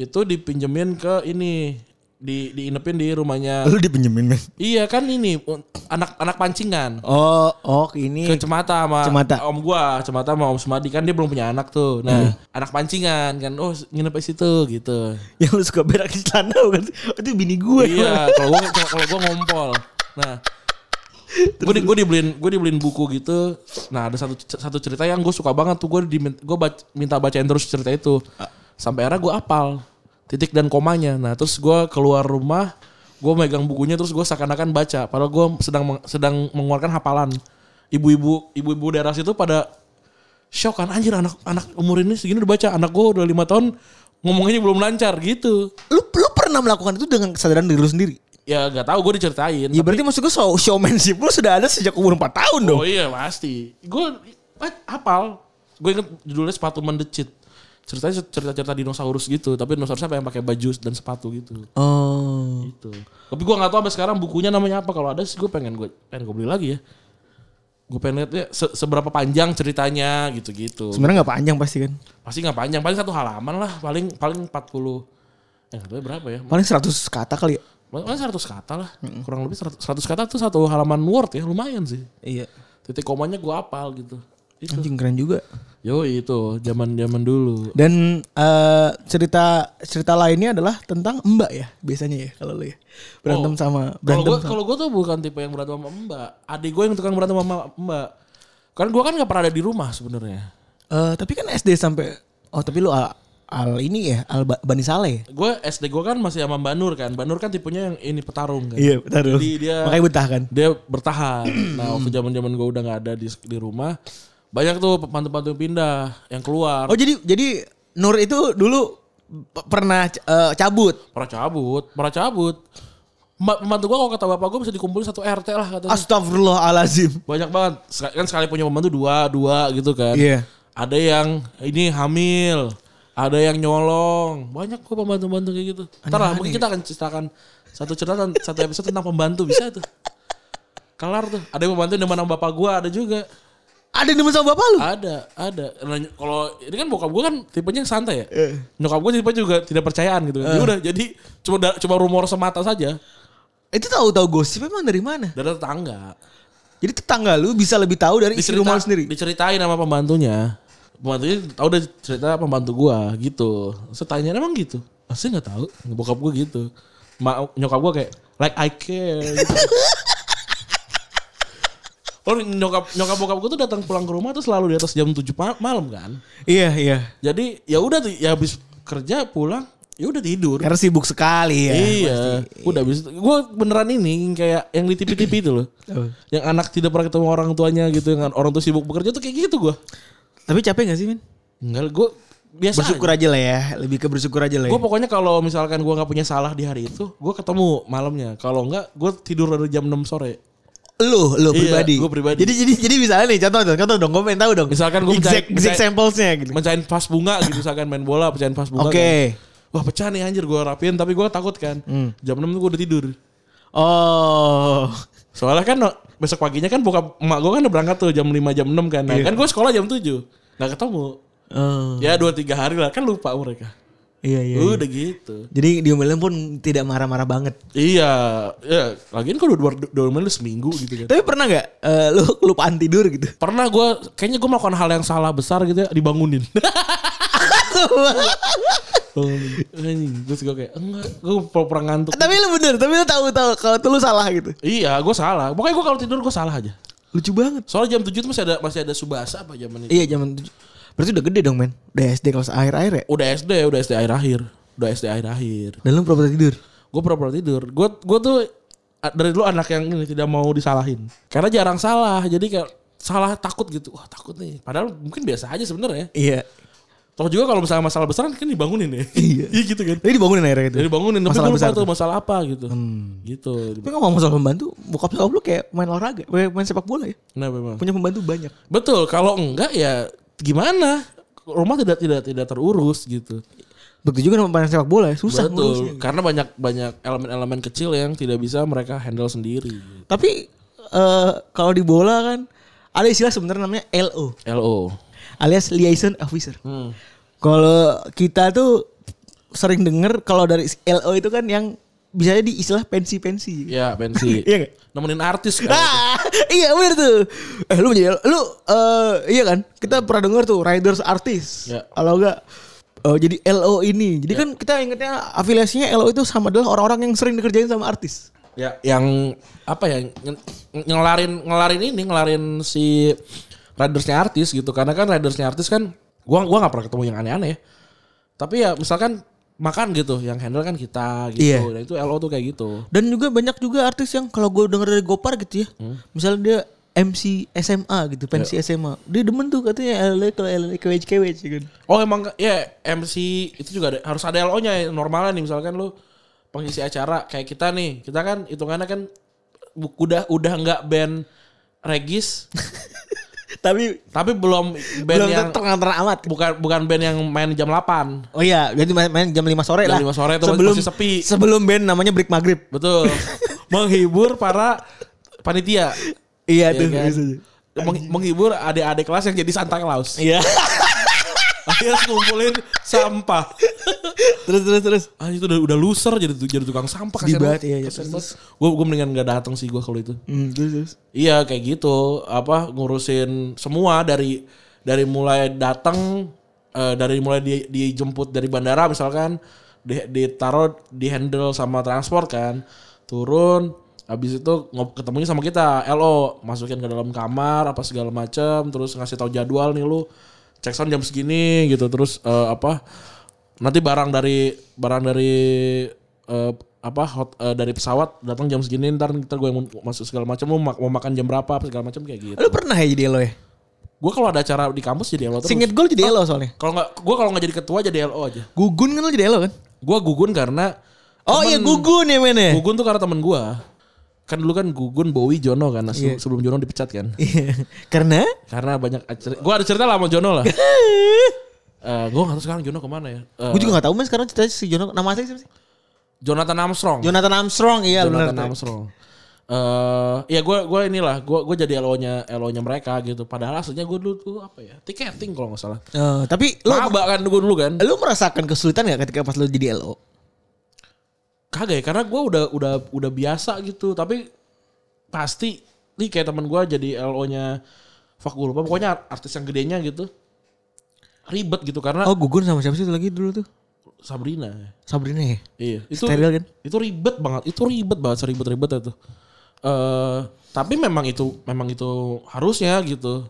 Speaker 3: itu dipinjemin ke ini di diinepin di rumahnya
Speaker 2: Lu dipinjemin men?
Speaker 3: iya kan ini anak-anak pancingan
Speaker 2: Oh, oh ini.
Speaker 3: ke Cemata sama
Speaker 2: Cemata.
Speaker 3: om gua, Cemata sama om Sumadi kan dia belum punya anak tuh. Nah, anak pancingan kan. Oh, nginep di situ gitu.
Speaker 2: yang lu suka berak di celana bukan sih? Oh, Itu bini gue.
Speaker 3: iya, kalau gua kalau gua ngompol. Nah, gue di, gua dibeliin gue dibeliin buku gitu. Nah, ada satu satu cerita yang gue suka banget tuh. Gue di gue minta bacain terus cerita itu. Sampai akhirnya gue apal titik dan komanya. Nah, terus gua keluar rumah, gue megang bukunya terus gue seakan-akan baca. Padahal gue sedang meng- sedang mengeluarkan hafalan. Ibu-ibu ibu-ibu daerah situ pada shock kan anjir anak anak umur ini segini udah baca anak gue udah lima tahun ngomongannya belum lancar gitu
Speaker 2: Lu lu pernah melakukan itu dengan kesadaran diri lu sendiri?
Speaker 3: ya gak tahu gue diceritain
Speaker 2: Ya berarti maksud gue show, showmanship lu sudah ada sejak umur 4 tahun dong.
Speaker 3: Oh iya pasti. eh, Gue apal. Gue inget judulnya sepatu mendecit. Ceritanya cerita-cerita dinosaurus gitu. Tapi dinosaurusnya apa yang pakai baju dan sepatu gitu.
Speaker 2: Oh.
Speaker 3: Gitu. Tapi gue nggak tahu sampai sekarang bukunya namanya apa. Kalau ada sih gue pengen gue pengen gue beli lagi ya. Gue pengen lihat ya se- seberapa panjang ceritanya gitu-gitu.
Speaker 2: Sebenarnya nggak panjang pasti kan.
Speaker 3: Pasti nggak panjang. Paling satu halaman lah. Paling paling 40 Eh, nggak tahu ya berapa ya?
Speaker 2: Paling 100 kata kali ya.
Speaker 3: Paling 100 kata lah. Kurang lebih 100, 100 kata tuh satu halaman Word ya. Lumayan sih.
Speaker 2: Iya.
Speaker 3: Titik komanya gue apal gitu. Itu.
Speaker 2: Anjing keren juga.
Speaker 3: Yo itu zaman zaman dulu.
Speaker 2: Dan eh, cerita cerita lainnya adalah tentang Mbak ya biasanya ya kalau lu ya. Berantem
Speaker 3: Oh.
Speaker 2: sama
Speaker 3: Kalau
Speaker 2: berantem
Speaker 3: gue
Speaker 2: sama.
Speaker 3: kalau gue tuh bukan tipe yang berantem sama Mbak. Adik gue yang tukang berantem sama Mbak. Kan gue kan nggak pernah ada di rumah sebenarnya.
Speaker 2: Eh, tapi kan SD sampai oh tapi lu al, al ini ya al Ba- Bani Saleh. ya?
Speaker 3: Gue SD gue kan masih sama Mbak Nur kan. Mbak Nur kan tipenya yang ini petarung kan.
Speaker 2: Iya, bentar dulu.
Speaker 3: Jadi dia-
Speaker 2: Makanya betah kan.
Speaker 3: Dia bertahan. nah waktu zaman zaman gue udah nggak ada di di rumah. Banyak tuh pantun-pantun pindah yang keluar.
Speaker 2: Oh jadi jadi Nur itu dulu p- pernah eh, cabut.
Speaker 3: Pernah cabut, pernah cabut. Mbak pembantu gue kalau kata bapak gue bisa dikumpulin satu RT lah katanya.
Speaker 2: Astagfirullahalazim.
Speaker 3: Banyak banget. Sekali- Kan sekali punya pembantu dua, dua gitu kan.
Speaker 2: Iya.
Speaker 3: Ada yang ini hamil. Ada yang nyolong. Banyak kok pembantu-pembantu kayak gitu. Ntar lah, mungkin kita akan ceritakan satu cerita dan satu episode tentang pembantu bisa tuh. Kelar tuh. Ada yang pembantu yang demen sama bapak gua ada juga.
Speaker 2: Ada yang demen sama bapak lu?
Speaker 3: Ada, ada. Nah, Kalau ini kan bokap gua kan tipenya yang santai ya. Nyokap gua tipe juga tidak percayaan gitu kan. Ya udah jadi cuma da- cuma rumor semata saja
Speaker 2: Itu tahu-tahu gosip emang dari mana?
Speaker 3: dari tetangga.
Speaker 2: Jadi tetangga lu bisa lebih tahu dari isi
Speaker 3: Dicerita-
Speaker 2: rumah lu sendiri.
Speaker 3: Diceritain sama pembantunya. Pembantunya tahu udah cerita pembantu gua gitu. Saya tanya emang gitu. Masih nggak tahu. Bokap gua gitu. Ma, nyokap gua kayak like I care. Gitu. Oh nyokap nyokap bokap gua tuh datang pulang ke rumah tuh selalu di atas jam 7 ma- malam kan.
Speaker 2: Iya, iya.
Speaker 3: Jadi ya udah tuh ya habis kerja pulang ya udah tidur.
Speaker 2: Karena sibuk sekali ya.
Speaker 3: iya, udah habis. Gua beneran ini kayak yang di TV-TV itu loh.
Speaker 2: Apa?
Speaker 3: Yang anak tidak pernah ketemu orang tuanya gitu, yang orang tua sibuk bekerja tuh kayak gitu gua.
Speaker 2: Tapi capek gak sih, Min?
Speaker 3: Enggak, gue biasa.
Speaker 2: Bersyukur aja lah ya. Lebih ke bersyukur aja lah ya.
Speaker 3: Gue pokoknya kalau misalkan gue nggak punya salah di hari itu, gue ketemu malamnya. Kalau nggak, gue tidur dari jam 6 sore.
Speaker 2: Lu, lu
Speaker 3: Iya,
Speaker 2: pribadi.
Speaker 3: gua pribadi.
Speaker 2: Jadi jadi jadi misalnya nih contoh dong, contoh dong, gue pengen tahu dong.
Speaker 3: Misalkan gua
Speaker 2: exact,
Speaker 3: mencari-
Speaker 2: exact
Speaker 3: mencari-
Speaker 2: samplesnya gitu.
Speaker 3: Mencahin pas bunga gitu, misalkan main bola, pecahin pas bunga.
Speaker 2: Oke. Hmm.
Speaker 3: kan. Wah pecah nih anjir gue rapiin, tapi gue takut kan. Jam 6 tuh gue udah tidur.
Speaker 2: Oh.
Speaker 3: Soalnya kan no- besok paginya kan buka emak gue kan udah berangkat tuh jam 5 jam 6 kan. Nah,
Speaker 2: Iya.
Speaker 3: kan gue sekolah jam 7. Nggak ketemu.
Speaker 2: Oh.
Speaker 3: Ya 2 3 hari lah kan lupa mereka.
Speaker 2: Iya, iya. iya.
Speaker 3: Udah gitu.
Speaker 2: Jadi diomelin pun tidak marah-marah banget.
Speaker 3: Iya, ya lagian kan udah dua, dua, dua seminggu gitu kan.
Speaker 2: Tapi pernah nggak eh, lu kelupaan tidur gitu?
Speaker 3: pernah gue kayaknya gue melakukan hal yang salah besar gitu ya dibangunin Bangunin. anjing terus gue kayak enggak gue pura-pura ngantuk
Speaker 2: tapi lu bener, tapi lu tahu tahu kalau tuh lu salah gitu.
Speaker 3: iya gue salah pokoknya gue kalau tidur gue salah aja
Speaker 2: Lucu banget.
Speaker 3: soalnya jam 7 itu masih ada masih ada subasa apa zaman itu
Speaker 2: Iya zaman tuj- Berarti udah gede dong men. Udah SD kelas akhir-akhir ya.
Speaker 3: udah SD udah SD akhir akhir udah SD akhir akhir
Speaker 2: Dan lu pura-pura tidur.
Speaker 3: gue pura-pura tidur gue gue tuh a- dari dulu anak yang ini tidak mau disalahin karena jarang salah jadi kayak salah takut gitu wah takut nih padahal mungkin biasa aja sebenarnya
Speaker 2: Iya.
Speaker 3: toh juga kalau misalnya masalah besar kan dibangunin ya
Speaker 2: Iya.
Speaker 3: iya gitu kan
Speaker 2: Jadi dibangunin akhirnya gitu.
Speaker 3: Jadi bangunin tapi
Speaker 2: Masalah
Speaker 3: gue lupa
Speaker 2: besar
Speaker 3: tuh
Speaker 2: tuh. Hmm.
Speaker 3: masalah apa gitu. Gitu.
Speaker 2: Tapi ngomong masalah pembantu, bokap nyokap lu kayak main olahraga, kayak main sepak bola ya.
Speaker 3: Nah, memang.
Speaker 2: Punya pembantu banyak.
Speaker 3: Betul, kalau enggak ya gimana? Rumah tidak tidak tidak terurus gitu.
Speaker 2: Begitu juga sama pemain sepak bola ya, susah
Speaker 3: Betul,
Speaker 2: ngurusnya.
Speaker 3: karena banyak banyak elemen-elemen kecil yang tidak bisa mereka handle sendiri.
Speaker 2: Tapi eh, kalau di bola kan ada istilah sebenarnya namanya LO
Speaker 3: LO.
Speaker 2: alias liaison officer.
Speaker 3: Hmm.
Speaker 2: Kalau kita tuh sering denger kalau dari LO itu kan yang bisa di istilah pensi-pensi.
Speaker 3: Ya, pensi.
Speaker 2: Iya nggak?
Speaker 3: Nemenin artis kan.
Speaker 2: Ah, iya bener tuh. Eh lu menjadi lu eh, iya kan? Kita pernah dengar tuh riders artis.
Speaker 3: Ya.
Speaker 2: Kalau enggak eh, jadi LO ini. Jadi kan kita ingetnya afiliasinya LO itu sama adalah orang-orang yang sering dikerjain sama artis.
Speaker 3: Ya, yang apa ya nge- nge- ngelarin ngelarin ini ngelarin si ridersnya artis gitu karena kan ridersnya artis kan gua gua nggak pernah ketemu yang aneh-aneh ya. tapi ya misalkan makan gitu yang handle kan kita gitu
Speaker 2: Iya.
Speaker 3: Dan itu lo tuh kayak gitu
Speaker 2: Dan juga banyak juga artis yang kalau gue denger dari Gopar gitu ya. Misalnya dia MC SMA gitu, pensi SMA. Dia demen tuh katanya LO kalau LO kewec-kewec gitu.
Speaker 3: oh emang ya MC itu juga ada, harus ada lo nya normalnya nih misalkan lu pengisi acara kayak kita nih kita kan hitungannya kan bu- udah udah nggak band regis
Speaker 2: Tapi
Speaker 3: tapi belum band
Speaker 2: belum
Speaker 3: yang
Speaker 2: terang-terang amat.
Speaker 3: bukan bukan band yang main jam 8
Speaker 2: Oh iya, jadi main, main jam 5 sore lah.
Speaker 3: Jam 5 sore tuh
Speaker 2: sebelum,
Speaker 3: masih sepi.
Speaker 2: Sebelum band namanya Break Maghrib.
Speaker 3: Betul. menghibur para panitia.
Speaker 2: Iya
Speaker 3: ya
Speaker 2: tuh.
Speaker 3: kan?
Speaker 2: biasanya.
Speaker 3: Meng- menghibur adik-adik kelas yang jadi Santa Claus.
Speaker 2: Iya.
Speaker 3: Akhirnya ngumpulin sampah.
Speaker 2: terus terus terus.
Speaker 3: Ah itu udah, udah loser jadi tu- jadi tukang sampah
Speaker 2: Sedih banget, iya, iya.
Speaker 3: Gue gue mendingan gak datang sih gue kalau itu.
Speaker 2: Hmm, terus terus.
Speaker 3: Iya kayak gitu apa ngurusin semua dari dari mulai datang eh, dari mulai di, dijemput dari bandara misalkan di, ditaruh di handle sama transport kan turun habis itu ngob- ketemunya sama kita lo masukin ke dalam kamar apa segala macam terus ngasih tahu jadwal nih lu cek sound jam segini gitu terus eh, apa nanti barang dari barang dari eh, apa hot, eh, dari pesawat datang jam segini ntar kita gue yang mau- masuk segala macam mau, mak- mau makan jam berapa apa segala macam kayak gitu
Speaker 2: Lu pernah ya jadi elo ya?
Speaker 3: gue kalau ada acara di kampus jadi lo terus
Speaker 2: Singet gol jadi elo soalnya.
Speaker 3: kalau nggak gue kalau nggak jadi ketua jadi lo aja
Speaker 2: Gugun kan lu jadi elo kan?
Speaker 3: gue gugun karena
Speaker 2: Oh
Speaker 3: temen-
Speaker 2: iya gugun ya men ya.
Speaker 3: gugun tuh karena temen gue kan dulu kan gugun Bowie Jono kan se- sebelum Jono dipecat kan
Speaker 2: Iya. Karena Iya.
Speaker 3: karena banyak acara gue ada cerita lah sama Jono lah Eh, gue gak tau sekarang Jono kemana ya. Eh,
Speaker 2: Gue juga gak tau men sekarang ceritanya si Jono nama asli siapa sih?
Speaker 3: Jonathan Armstrong.
Speaker 2: Jonathan Armstrong iya benar.
Speaker 3: Jonathan Armstrong. Eh, ya gue gue inilah gue gue jadi elonya elonya mereka gitu. Padahal aslinya gue dulu tuh apa ya tiketing kalau nggak salah.
Speaker 2: Eh, tapi lu
Speaker 3: Maba kan gue dulu kan.
Speaker 2: lu merasakan kesulitan gak ketika pas lu jadi LO?
Speaker 3: Kagak ya karena gue udah udah udah biasa gitu. Tapi pasti nih kayak teman gue jadi LO-nya fuck gue lupa. Pokoknya artis yang gedenya gitu ribet gitu karena
Speaker 2: Oh gugun sama siapa sih itu lagi dulu tuh?
Speaker 3: Sabrina.
Speaker 2: Sabrina ya?
Speaker 3: Iya, itu
Speaker 2: Steril kan?
Speaker 3: Itu ribet banget, itu ribet banget, seribet-ribet itu. Eh, tapi memang itu memang itu harusnya gitu.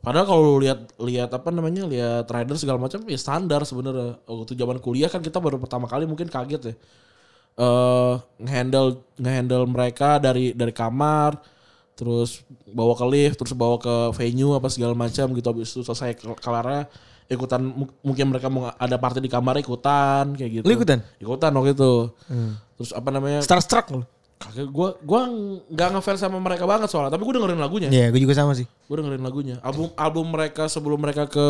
Speaker 3: Padahal kalau lu lihat lihat apa namanya? lihat rider segala macam ya standar sebenarnya. Waktu zaman kuliah kan kita baru pertama kali mungkin kaget ya. Eh, ngehandle ngehandle mereka dari dari kamar terus bawa ke lift, terus bawa ke venue apa segala macam gitu habis itu selesai kel- kelarnya ikutan mu- mungkin mereka mau ada party di kamar ikutan kayak gitu.
Speaker 2: Lu ikutan? Hmm.
Speaker 3: Ikutan waktu itu. Terus apa namanya?
Speaker 2: Starstruck lu?
Speaker 3: Kakek gua gua nggak ngefans sama mereka banget soalnya, tapi gua dengerin lagunya.
Speaker 2: Iya gue juga sama sih.
Speaker 3: Gua dengerin lagunya. Album album mereka sebelum mereka ke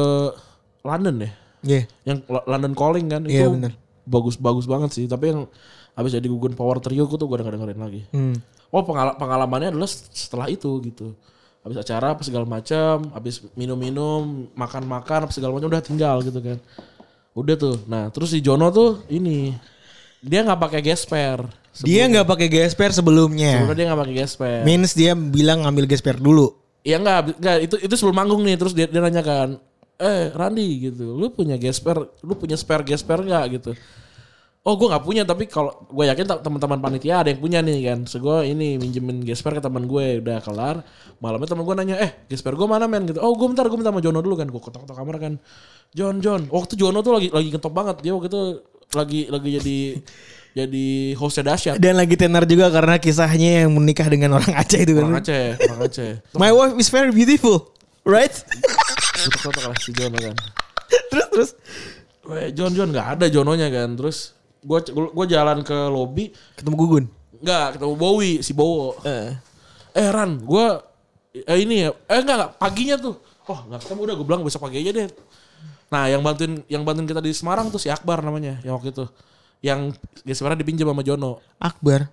Speaker 3: London ya.
Speaker 2: Iya.
Speaker 3: Yang Lo- London Calling kan itu
Speaker 2: Iya, bener.
Speaker 3: bagus-bagus banget sih, tapi yang habis jadi gugun Power Trio gua tuh gua nggak dengerin lagi.
Speaker 2: Hmm.
Speaker 3: Oh pengala- pengalamannya adalah setelah itu gitu. Habis acara apa segala macam, habis minum-minum, makan-makan apa segala macam udah tinggal gitu kan. Udah tuh. Nah, terus si Jono tuh ini dia nggak pakai gesper.
Speaker 2: Dia nggak pakai gesper sebelumnya.
Speaker 3: Sebenarnya dia nggak pakai gesper.
Speaker 2: Means dia bilang ngambil gesper dulu.
Speaker 3: Iya nggak, nggak itu itu sebelum manggung nih terus dia, dia nanya kan, eh Randi gitu, lu punya gesper, lu punya spare gesper nggak gitu? Oh gue nggak punya tapi kalau gue yakin ta- teman-teman panitia ada yang punya nih kan, so gue ini minjemin gesper ke teman gue udah kelar, malamnya teman gue nanya, eh gesper gue mana men gitu? Oh gue bentar gue minta sama Jono dulu kan, gue ketok-ketok kamar kan, John John, waktu Jono tuh lagi lagi ketop banget dia waktu itu lagi lagi jadi jadi hostnya dahsyat.
Speaker 2: Dan lagi tenar juga karena kisahnya yang menikah dengan orang Aceh itu
Speaker 3: Orang
Speaker 2: kan.
Speaker 3: Aceh, orang Aceh.
Speaker 2: My wife is very beautiful, right?
Speaker 3: Ketok-ketok lah si Jono kan.
Speaker 2: terus terus.
Speaker 3: Weh, Eh, John John nggak ada Jononya kan. Terus gue gue jalan ke lobby
Speaker 2: Ketemu gugun.
Speaker 3: nggak ketemu Bowie si Bowo. Eh Ran, gue eh, ini ya. Eh nggak nggak paginya tuh. Oh nggak ketemu udah gue bilang besok pagi aja deh. Nah yang bantuin yang bantuin kita di Semarang tuh si Akbar namanya yang waktu itu yang ya sebenarnya dipinjam sama Jono.
Speaker 2: Akbar.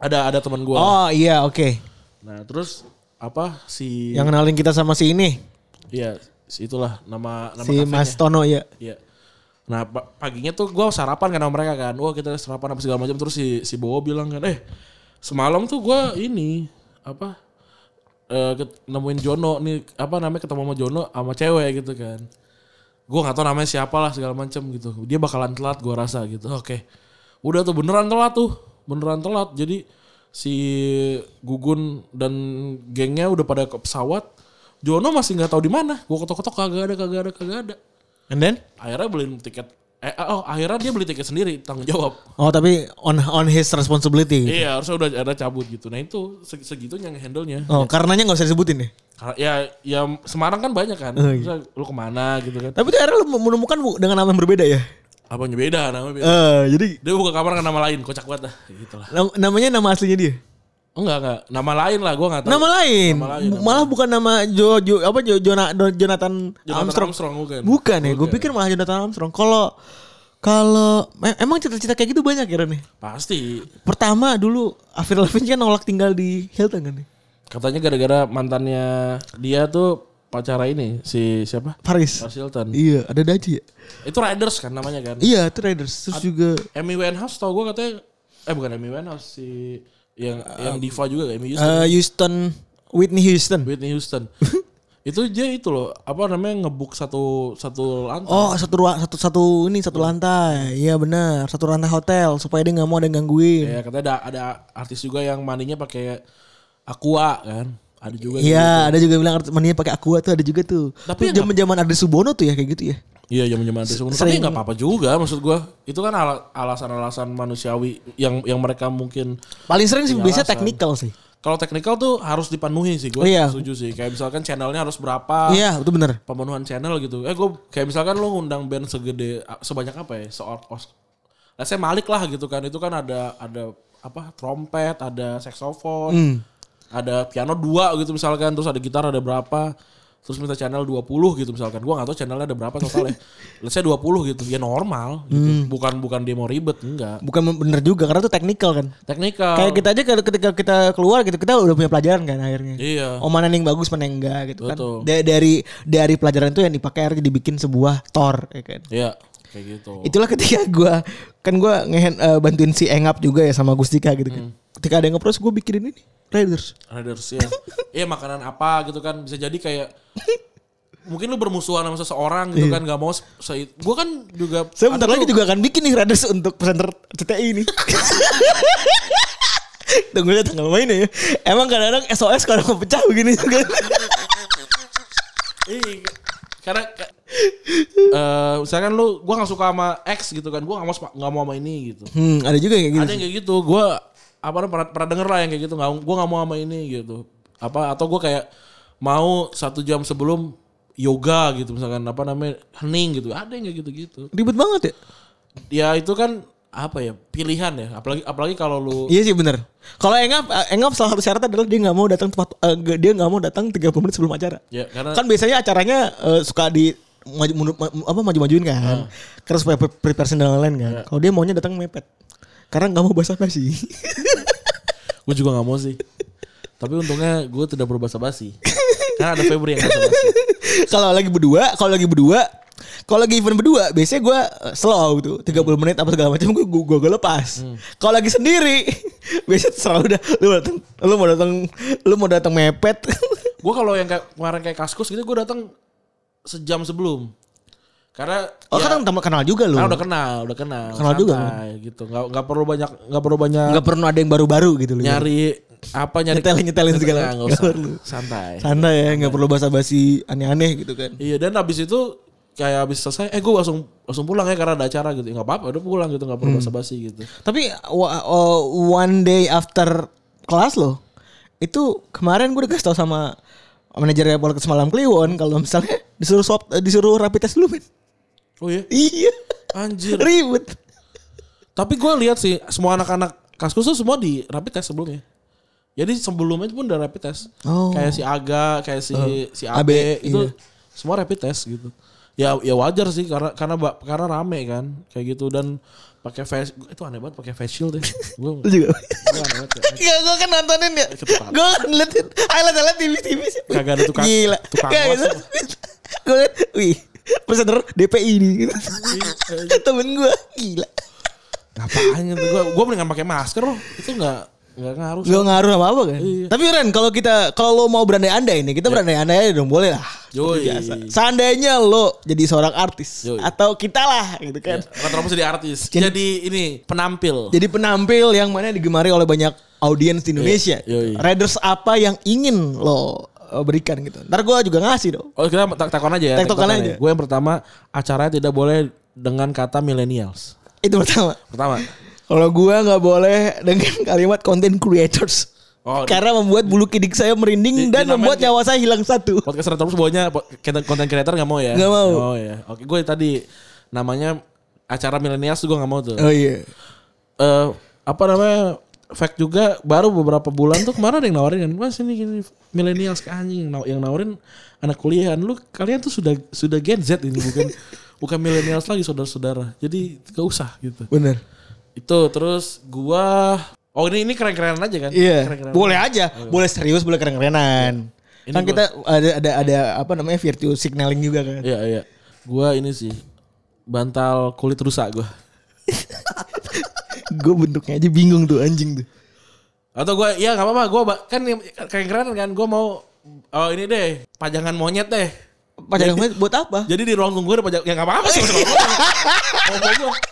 Speaker 3: Ada ada teman gue.
Speaker 2: Oh iya oke.
Speaker 3: Nah terus apa si
Speaker 2: Yang kenalin kita sama si ini,
Speaker 3: ya si itulah nama nama
Speaker 2: si
Speaker 3: kafenya.
Speaker 2: Mas Tono ya.
Speaker 3: Iya. Nah pa- paginya tuh gue sarapan kan sama mereka kan. Wah kita sarapan apa segala macam. Terus si si Bowo bilang kan, eh semalam tuh gue ini apa eh, ket- nemuin Jono nih apa namanya ketemu sama Jono sama cewek gitu kan. Gue nggak tahu namanya siapa lah segala macam gitu. Dia bakalan telat gue rasa gitu. Oke. Udah tuh beneran telat tuh. Beneran telat. Jadi si Gugun dan gengnya udah pada ke pesawat. Jono masih nggak tahu di mana. Gue ketok-ketok kagak ada, kagak ada, kagak ada
Speaker 2: And then?
Speaker 3: akhirnya beliin tiket eh oh akhirnya dia beli tiket sendiri tanggung jawab
Speaker 2: Oh tapi on on his responsibility.
Speaker 3: iya harusnya udah ada cabut gitu nah itu seg- segitunya handle nya
Speaker 2: Oh karenanya nggak usah disebutin nih.
Speaker 3: ya ya Semarang kan banyak kan
Speaker 2: Oh, iya.
Speaker 3: Terus lu kemana gitu kan
Speaker 2: Tapi tuh akhirnya lu menemukan bu- dengan nama yang berbeda ya.
Speaker 3: apa beda
Speaker 2: Eh
Speaker 3: namanya beda
Speaker 2: jadi
Speaker 3: dia buka kamar dengan nama lain kocak banget lah gitu lah
Speaker 2: nam- namanya nama aslinya dia.
Speaker 3: enggak enggak nama lain lah gua nggak tahu
Speaker 2: Nama lain.
Speaker 3: Nama lain, nama
Speaker 2: malah bukan nama Jo, Jo- apa Jo, Jona- Do- Jonathan,
Speaker 3: Jonathan
Speaker 2: Armstrong.
Speaker 3: Armstrong bukan
Speaker 2: Bukan ya, gue pikir malah Jonathan Armstrong. Kalau kalau em- emang cita-cita kayak gitu banyak ya nih.
Speaker 3: pasti
Speaker 2: Pertama dulu Avril Lavigne kan nolak tinggal di Hilton kan nih.
Speaker 3: katanya gara-gara mantannya dia tuh pacara ini si siapa
Speaker 2: Paris.
Speaker 3: Paris Hilton
Speaker 2: Iya, ada Daji ya.
Speaker 3: itu Riders kan namanya kan
Speaker 2: Iya, itu Raiders. Terus juga
Speaker 3: Amy Winehouse tau gue katanya eh bukan Amy Winehouse si yang yang diva juga Amy Houston
Speaker 2: eh, Houston Whitney Houston.
Speaker 3: Whitney Houston itu dia itu loh apa namanya ngebuk satu satu lantai
Speaker 2: Oh, satu ruang satu satu ini satu lantai. Iya benar, satu lantai hotel supaya dia nggak mau ada yang gangguin.
Speaker 3: ya katanya ada ada artis juga yang mandinya pakai aqua kan ada juga
Speaker 2: Iya, ada juga bilang maninya pakai aqua tuh ada juga tuh.
Speaker 3: gitu.
Speaker 2: Tapi
Speaker 3: Tapi
Speaker 2: zaman-zaman ada Subono tuh ya kayak gitu ya.
Speaker 3: iya zaman zaman artis umur. tapi
Speaker 2: sering-
Speaker 3: nggak apa apa juga maksud gue itu kan ala- alasan-alasan manusiawi yang yang mereka mungkin
Speaker 2: Paling sering
Speaker 3: Iya,
Speaker 2: sih biasanya technical sih.
Speaker 3: kalau teknikal tuh harus dipenuhi sih gue
Speaker 2: Oh, iya.
Speaker 3: setuju sih kayak misalkan channelnya harus berapa
Speaker 2: Iya, itu bener.
Speaker 3: pemenuhan channel gitu. Eh gue kayak misalkan lu ngundang band segede sebanyak apa ya? Seor os. Lah saya Malik lah gitu kan. Itu kan ada ada apa? trompet,
Speaker 2: Hmm.
Speaker 3: ada saksofon, ada piano dua gitu misalkan, terus ada gitar ada berapa. terus minta channel 20 gitu misalkan. Gua nggak tahu channelnya ada berapa totalnya. Let's say 20 gitu. Ya normal gitu.
Speaker 2: Hmm.
Speaker 3: Bukan bukan dia mau ribet, enggak.
Speaker 2: Bukan bener juga karena itu teknikal kan.
Speaker 3: Teknikal.
Speaker 2: Kayak kita aja kalau ketika kita keluar gitu kita udah punya pelajaran kan akhirnya.
Speaker 3: Iya.
Speaker 2: Oh mana yang bagus mana yang enggak gitu kan.
Speaker 3: Betul.
Speaker 2: Da- dari dari pelajaran itu yang dipakai akhirnya dibikin sebuah tor ya kan.
Speaker 3: Iya, kayak gitu.
Speaker 2: Itulah ketika gua kan gua ngehen eh, bantuin si Engap juga ya sama Gustika gitu kan.
Speaker 3: Hmm.
Speaker 2: Ketika ada yang nge-post gua bikinin ini Raiders.
Speaker 3: Raiders ya. Iya makanan apa gitu kan bisa jadi kayak mungkin lu bermusuhan sama seseorang gitu kan nggak mau se- se- gua kan juga
Speaker 2: Saya bentar lagi juga akan bikin nih Raiders untuk presenter CTI ini. Tunggu aja tanggal mainnya ya. Emang kadang-kadang SOS kalau mau pecah begini juga.
Speaker 3: Iya. Karena ka- eh, misalkan lu gua nggak suka sama X gitu kan, gua nggak mau sama- nggak mau sama ini gitu.
Speaker 2: hmm, ada juga yang kayak
Speaker 3: Ada yang kayak gitu, gua apa namanya, pernah pernah denger lah yang kayak gitu, nggak gua nggak mau sama ini gitu. Apa atau gua kayak mau satu jam sebelum yoga gitu misalkan apa namanya hening gitu ada yang kayak gitu gitu
Speaker 2: Ribet banget ya.
Speaker 3: ya itu kan apa ya pilihan ya apalagi apalagi kalau lu
Speaker 2: Iya sih bener. Kalau Engap, eh, Engap salah satu syaratnya adalah dia nggak mau datang tepat, eh, nggak- dia nggak mau datang 30 menit sebelum acara.
Speaker 3: ya karena
Speaker 2: Kan biasanya acaranya eh, suka di maju, mundur- ma- apa maju-majuin kan. Karena supaya pre- preparation dan lain-lain kan. Kalau dia maunya datang mepet. Karena nggak mau bahasa basi.
Speaker 3: gue juga nggak mau sih tapi untungnya gue tidak berbahasa basi karena ada Febri yang bahasa basi
Speaker 2: kalau lagi berdua, kalau lagi berdua, kalau lagi event berdua, biasanya gue slow tuh, 30 menit apa segala macam gue gue gue lepas.
Speaker 3: Hmm.
Speaker 2: Kalau lagi sendiri, biasanya selalu udah lu datang, lu mau datang, lu mau datang mepet.
Speaker 3: gue kalau yang kayak kemarin kayak kaskus gitu gue datang sejam sebelum karena
Speaker 2: Oh
Speaker 3: ya,
Speaker 2: kan teman kenal juga lu.
Speaker 3: karena udah kenal udah kenal
Speaker 2: Kenal juga, kan?
Speaker 3: santai gitu nggak nggak perlu banyak nggak perlu banyak
Speaker 2: Nggak perlu ada yang baru-baru gitu lu.
Speaker 3: nyari apa nyari
Speaker 2: Nyetelin-nyetelin segala.
Speaker 3: Nggak, nggak usah
Speaker 2: Nggak perlu.
Speaker 3: santai
Speaker 2: Santai ya, nggak perlu basa-basi aneh-aneh gitu kan.
Speaker 3: Iya dan habis itu kayak habis selesai eh gue langsung langsung pulang ya karena ada acara gitu Ya, nggak apa-apa udah pulang gitu nggak
Speaker 2: Hmm.
Speaker 3: perlu basa-basi gitu
Speaker 2: Tapi wa- uh, one day after kelas loh, itu kemarin gue udah kasih tau sama manajernya Polkes Malam Kliwon kalau misalnya disuruh swab, eh, disuruh rapid test dulu men.
Speaker 3: oh iya
Speaker 2: Iya.
Speaker 3: anjir
Speaker 2: Ribet.
Speaker 3: tapi gue lihat sih semua anak-anak kaskus tuh semua di rapid test sebelumnya jadi sebelumnya pun udah rapid test
Speaker 2: Oh.
Speaker 3: kayak si Aga kayak si si
Speaker 2: Abe,
Speaker 3: Abe itu
Speaker 2: iya.
Speaker 3: semua rapid test gitu ya ya wajar sih karena karena ba- karena rame kan kayak gitu dan pakai face itu aneh banget pakai face shield ya gue
Speaker 2: Lu juga.
Speaker 3: aneh banget ya.
Speaker 2: Gak, gue kan nontonin ya. Gue kan liatin highlight-highlight TV-TV sih.
Speaker 3: Kagak ada tukang-
Speaker 2: Gila.
Speaker 3: tukang
Speaker 2: Gak,
Speaker 3: was.
Speaker 2: gitu. Gue liat, wih. Presenter DPI nih.
Speaker 3: Iya,
Speaker 2: Gitu. Temen gue. Gila.
Speaker 3: ngapain gitu gue gue mendingan pakai masker loh itu nggak nggak ngaruh
Speaker 2: Gak ngaruh apa apa kan?
Speaker 3: Iya.
Speaker 2: Tapi Ren, kalau kita kalau lo mau berandai-andai ini, kita berandai-andai aja dong, boleh lah.
Speaker 3: Yoi.
Speaker 2: Seandainya lo jadi seorang artis
Speaker 3: Yoi. Iya.
Speaker 2: atau kita lah gitu kan.
Speaker 3: Kata Romo jadi artis. Jadi,
Speaker 2: Jadi-
Speaker 3: ini penampil.
Speaker 2: Jadi penampil yang mana digemari oleh banyak audiens di Indonesia.
Speaker 3: Iya. Yoi.
Speaker 2: Raiders apa yang ingin lo eh, berikan gitu. Ntar gue juga ngasih dong.
Speaker 3: oh kita tak takon aja ya.
Speaker 2: Tektokan
Speaker 3: tektokan
Speaker 2: aja.
Speaker 3: Gue yang pertama acaranya tidak boleh dengan kata millennials.
Speaker 2: Itu pertama.
Speaker 3: Pertama.
Speaker 2: Kalau gue nggak boleh dengan kalimat content creators.
Speaker 3: Oh, di-
Speaker 2: Karena membuat bulu kidik saya merinding
Speaker 3: di-
Speaker 2: dan
Speaker 3: dinamain
Speaker 2: membuat
Speaker 3: di-
Speaker 2: nyawa saya hilang satu.
Speaker 3: Podcast terus bawahnya po- kita- content creator nggak mau ya?
Speaker 2: Nggak mau.
Speaker 3: Oh ya. Oke, gue tadi namanya acara millennials gue nggak mau tuh. Eh
Speaker 2: Oh iya.
Speaker 3: apa namanya? Fact juga baru beberapa bulan tuh kemarin ada yang nawarin kan, mas ini gini millennials ke anjing Naw- yang nawarin anak kuliahan lu kalian tuh sudah sudah Gen Z ini bukan bukan millennials lagi saudara-saudara. Jadi gak usah gitu.
Speaker 2: Bener.
Speaker 3: Itu terus gua Oh ini ini keren-kerenan aja kan?
Speaker 2: Iya.
Speaker 3: Keren-kerenan.
Speaker 2: Boleh aja. Boleh serius, boleh keren-kerenan.
Speaker 3: Iya. Ini
Speaker 2: Kan
Speaker 3: gua-
Speaker 2: kita ada ada ada apa namanya virtue signaling juga kan.
Speaker 3: Iya iya. Gua ini sih bantal kulit rusak gua.
Speaker 2: gue bentuknya aja bingung tuh anjing tuh.
Speaker 3: Atau gua ya nggak apa-apa gua ba- kan yang- keren-kerenan kan gua mau oh ini deh pajangan monyet deh.
Speaker 2: Padahal buat apa?
Speaker 3: Jadi di ruang tunggu ada pajang ya nggak apa-apa sih. nggak apa-apa. Ngomong gua.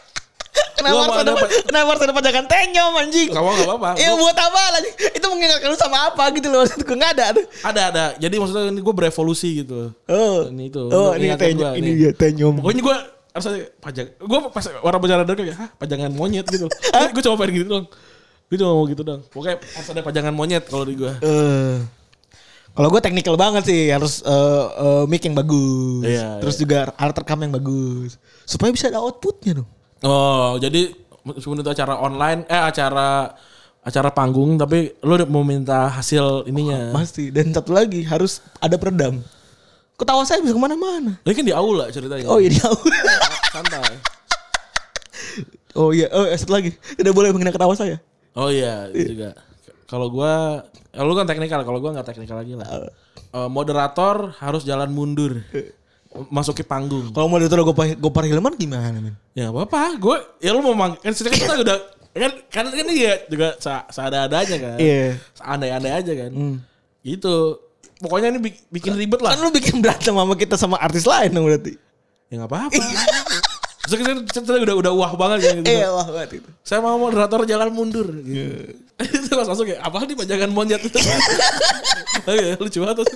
Speaker 2: Kenapa
Speaker 3: Gua
Speaker 2: harus
Speaker 3: mau
Speaker 2: ada,
Speaker 3: ada pa-
Speaker 2: kenapa harus ada pajangan tenyom anjing?
Speaker 3: Nggak apa nggak apa-apa.
Speaker 2: Ya buat apa lagi? Itu mengingatkan lu sama apa gitu loh maksud gue nggak ada tuh.
Speaker 3: Ada ada. Jadi maksudnya ini gua berevolusi gitu.
Speaker 2: Oh,
Speaker 3: Ini itu.
Speaker 2: Oh, ini
Speaker 3: Ingatkan
Speaker 2: tenyom.
Speaker 3: gua,
Speaker 2: Ini
Speaker 3: nih.
Speaker 2: dia tenyom.
Speaker 3: Pokoknya gue harus ada pajang. Gue pas orang bicara dong kayak, hah pajangan monyet gitu. gue cuma pengen gitu dong. Gue cuma mau gitu dong. Pokoknya harus ada pajangan monyet kalau di gue.
Speaker 2: Eh. Kalau gue teknikal banget sih harus eh, eh, mic yang bagus,
Speaker 3: Iya,
Speaker 2: terus juga alat rekam yang bagus, supaya bisa ada outputnya dong.
Speaker 3: Oh jadi meskipun itu acara online, eh acara acara panggung tapi lu udah mau minta hasil ininya.
Speaker 2: Pasti. Dan satu lagi harus ada peredam. Ketawa saya bisa kemana-mana.
Speaker 3: Ini kan di aula ceritanya.
Speaker 2: Oh iya dia.
Speaker 3: Santai.
Speaker 2: oh iya. Oh satu lagi. Tidak boleh menghina ketawa saya.
Speaker 3: Oh iya itu juga. Kalau gua eh, lu kan teknikal, kalau gua nggak teknikal lagi lah.
Speaker 2: Iya.
Speaker 3: Eh, moderator harus jalan mundur. Masuki panggung.
Speaker 2: Kalau mau ditaruh Gopar, Gopar Hilman gimana men?
Speaker 3: Ya nggak apa-apa, gue ya lu mau mang kan sekarang kita udah kan kan kan ini ya juga se- seada-adanya kan.
Speaker 2: Iya. Hmm.
Speaker 3: Seandai-andai aja kan. Itu pokoknya ini bi- bikin ribet
Speaker 2: Kan
Speaker 3: lah.
Speaker 2: lu bikin berantem sama kita sama artis lain dong berarti.
Speaker 3: Ya nggak apa-apa. Terus kita, kita udah udah wah banget kan, gitu.
Speaker 2: Iya wah banget itu.
Speaker 3: Saya mau moderator jalan mundur gitu. Itu langsung langsung kayak apa nih pajangan monyet itu. Oke, lucu banget. tuh.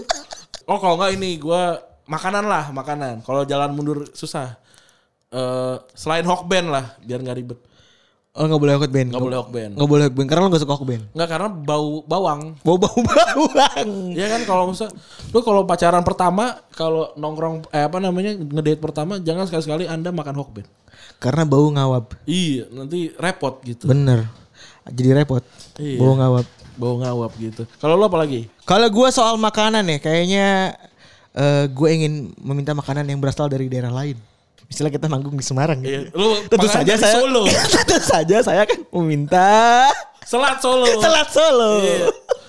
Speaker 3: Oh, kalau enggak ini gua makanan lah, makanan. Kalau jalan mundur susah. Eh selain hokben lah biar nggak ribet.
Speaker 2: Oh nggak boleh hot band.
Speaker 3: Nggak boleh hokben.
Speaker 2: Nggak boleh hot band karena lu nggak suka hot band.
Speaker 3: Enggak karena bau bawang.
Speaker 2: Bau bau bawang.
Speaker 3: Iya kan kalau misalnya lu kalau pacaran pertama, kalau nongkrong eh apa namanya ngedate pertama jangan sekali-sekali Anda makan hokben.
Speaker 2: Karena bau ngawab.
Speaker 3: Iya, nanti repot gitu.
Speaker 2: Bener. Jadi repot.
Speaker 3: Iya.
Speaker 2: Bau ngawab.
Speaker 3: Bau ngawap gitu. Kalau lu apa lagi?
Speaker 2: Kalau gue soal makanan ya, kayaknya eh gue ingin meminta makanan yang berasal dari daerah lain. Misalnya kita manggung di Semarang.
Speaker 3: Iya,
Speaker 2: Gitu.
Speaker 3: lu
Speaker 2: Tentu
Speaker 3: makanan
Speaker 2: saja
Speaker 3: dari
Speaker 2: saya
Speaker 3: Solo.
Speaker 2: Tentu saja saya kan meminta
Speaker 3: Selat Solo.
Speaker 2: selat Solo.
Speaker 3: Iya.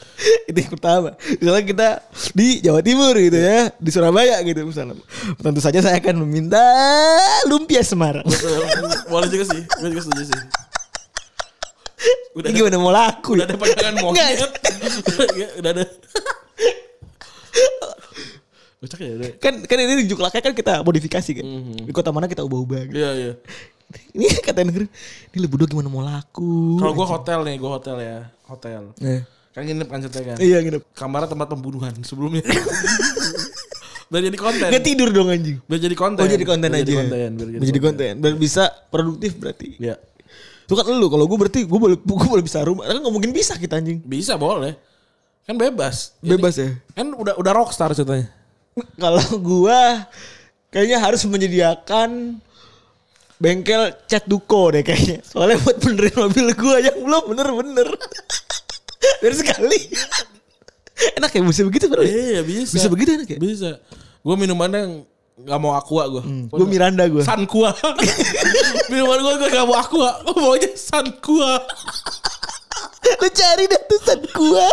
Speaker 2: Itu yang pertama. Misalnya kita di Jawa Timur gitu ya, di Surabaya gitu misalnya. Tentu saja saya akan meminta lumpia Semarang.
Speaker 3: Betul. Boleh juga sih. Gue juga setuju sih. Udah
Speaker 2: Ini
Speaker 3: ada,
Speaker 2: gimana mau laku? ya?
Speaker 3: udah ada pajangan monyet.
Speaker 2: Nggak.
Speaker 3: Iya, udah ada. Kocak ya udah.
Speaker 2: Kan kan ini di Juklaknya kan kita modifikasi kan.
Speaker 3: Mhm.
Speaker 2: Di kota mana kita ubah-ubah gitu.
Speaker 3: Iya, iya.
Speaker 2: Ini kata negeri, ini lu berdua gimana mau laku?
Speaker 3: Kalau gue hotel nih, gue hotel ya. Hotel.
Speaker 2: Eh,
Speaker 3: Kan nginep kan ceritanya kan.
Speaker 2: Iya nginep.
Speaker 3: Kamarnya tempat pembunuhan sebelumnya. Udah jadi konten.
Speaker 2: Gak tidur dong anjing.
Speaker 3: Udah jadi konten.
Speaker 2: Oh jadi konten
Speaker 3: Udah
Speaker 2: aja.
Speaker 3: Jadi konten. Udah
Speaker 2: Biar jadi konten. Biar bisa produktif berarti.
Speaker 3: Iya.
Speaker 2: Itu kan lu kalau gue berarti gue boleh gue boleh bisa rumah. Kan nggak mungkin bisa kita anjing.
Speaker 3: Bisa boleh. Kan bebas. Jadi-
Speaker 2: Bebas ya.
Speaker 3: Kan udah udah rockstar ceritanya.
Speaker 2: Kalau gua kayaknya harus menyediakan bengkel cat duko deh kayaknya. Soalnya buat benerin mobil gua yang belum bener-bener. Dari sekali. Enak ya bisa begitu bro.
Speaker 3: Iya bisa.
Speaker 2: Bisa begitu enak ya?
Speaker 3: Bisa. Gue minumannya yang nggak mau aqua gue.
Speaker 2: Gue Miranda gue.
Speaker 3: San Kua. Minuman gue gue nggak mau aqua. Gue maunya San Kua.
Speaker 2: Lu cari dah tusan gua.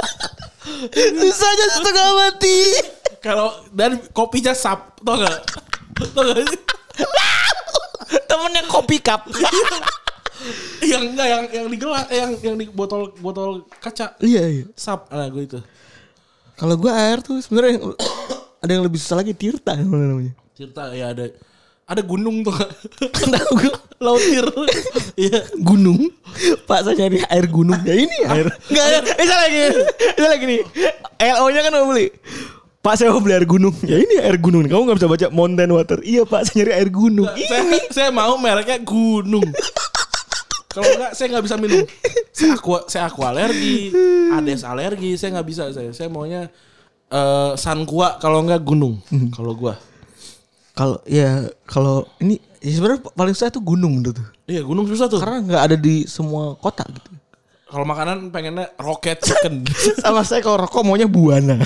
Speaker 2: Susahnya setengah mati.
Speaker 3: Kalau dan kopinya sap, tau gak? tau gak? sih?
Speaker 2: Temennya kopi cup.
Speaker 3: yang enggak yang yang di gelas, eh, yang yang di botol botol kaca
Speaker 2: iya iya.
Speaker 3: sap nah gue itu
Speaker 2: Kalau gua air tuh sebenarnya yang- ada yang lebih susah lagi Tirta namanya namanya.
Speaker 3: cerita ya ada ada gunung tuh
Speaker 2: Tahu gua
Speaker 3: lautir iya
Speaker 2: gunung. Pak saya nyari air gunung. Ya ini air. Enggak ada. Eh salah lagi. Salah lagi nih. LO-nya kan mau beli. Pak saya mau beli air gunung. Ya ini air gunung. Kamu nggak bisa baca mountain water. Iya Pak saya nyari air gunung.
Speaker 3: saya, saya mau mereknya gunung. Kalau enggak saya nggak bisa minum. Saya aku saya aku alergi, ades alergi, saya nggak bisa saya. Saya maunya eh san gua kalau enggak gunung. Kalau gua.
Speaker 2: Kalau ya kalau ini ya sebenarnya paling susah tuh gunung tuh.
Speaker 3: Iya, gunung susah tuh.
Speaker 2: Gitu. Karena nggak ada di semua kota gitu.
Speaker 3: Kalau makanan pengennya roket chicken.
Speaker 2: Sama saya kalau rokok maunya buana.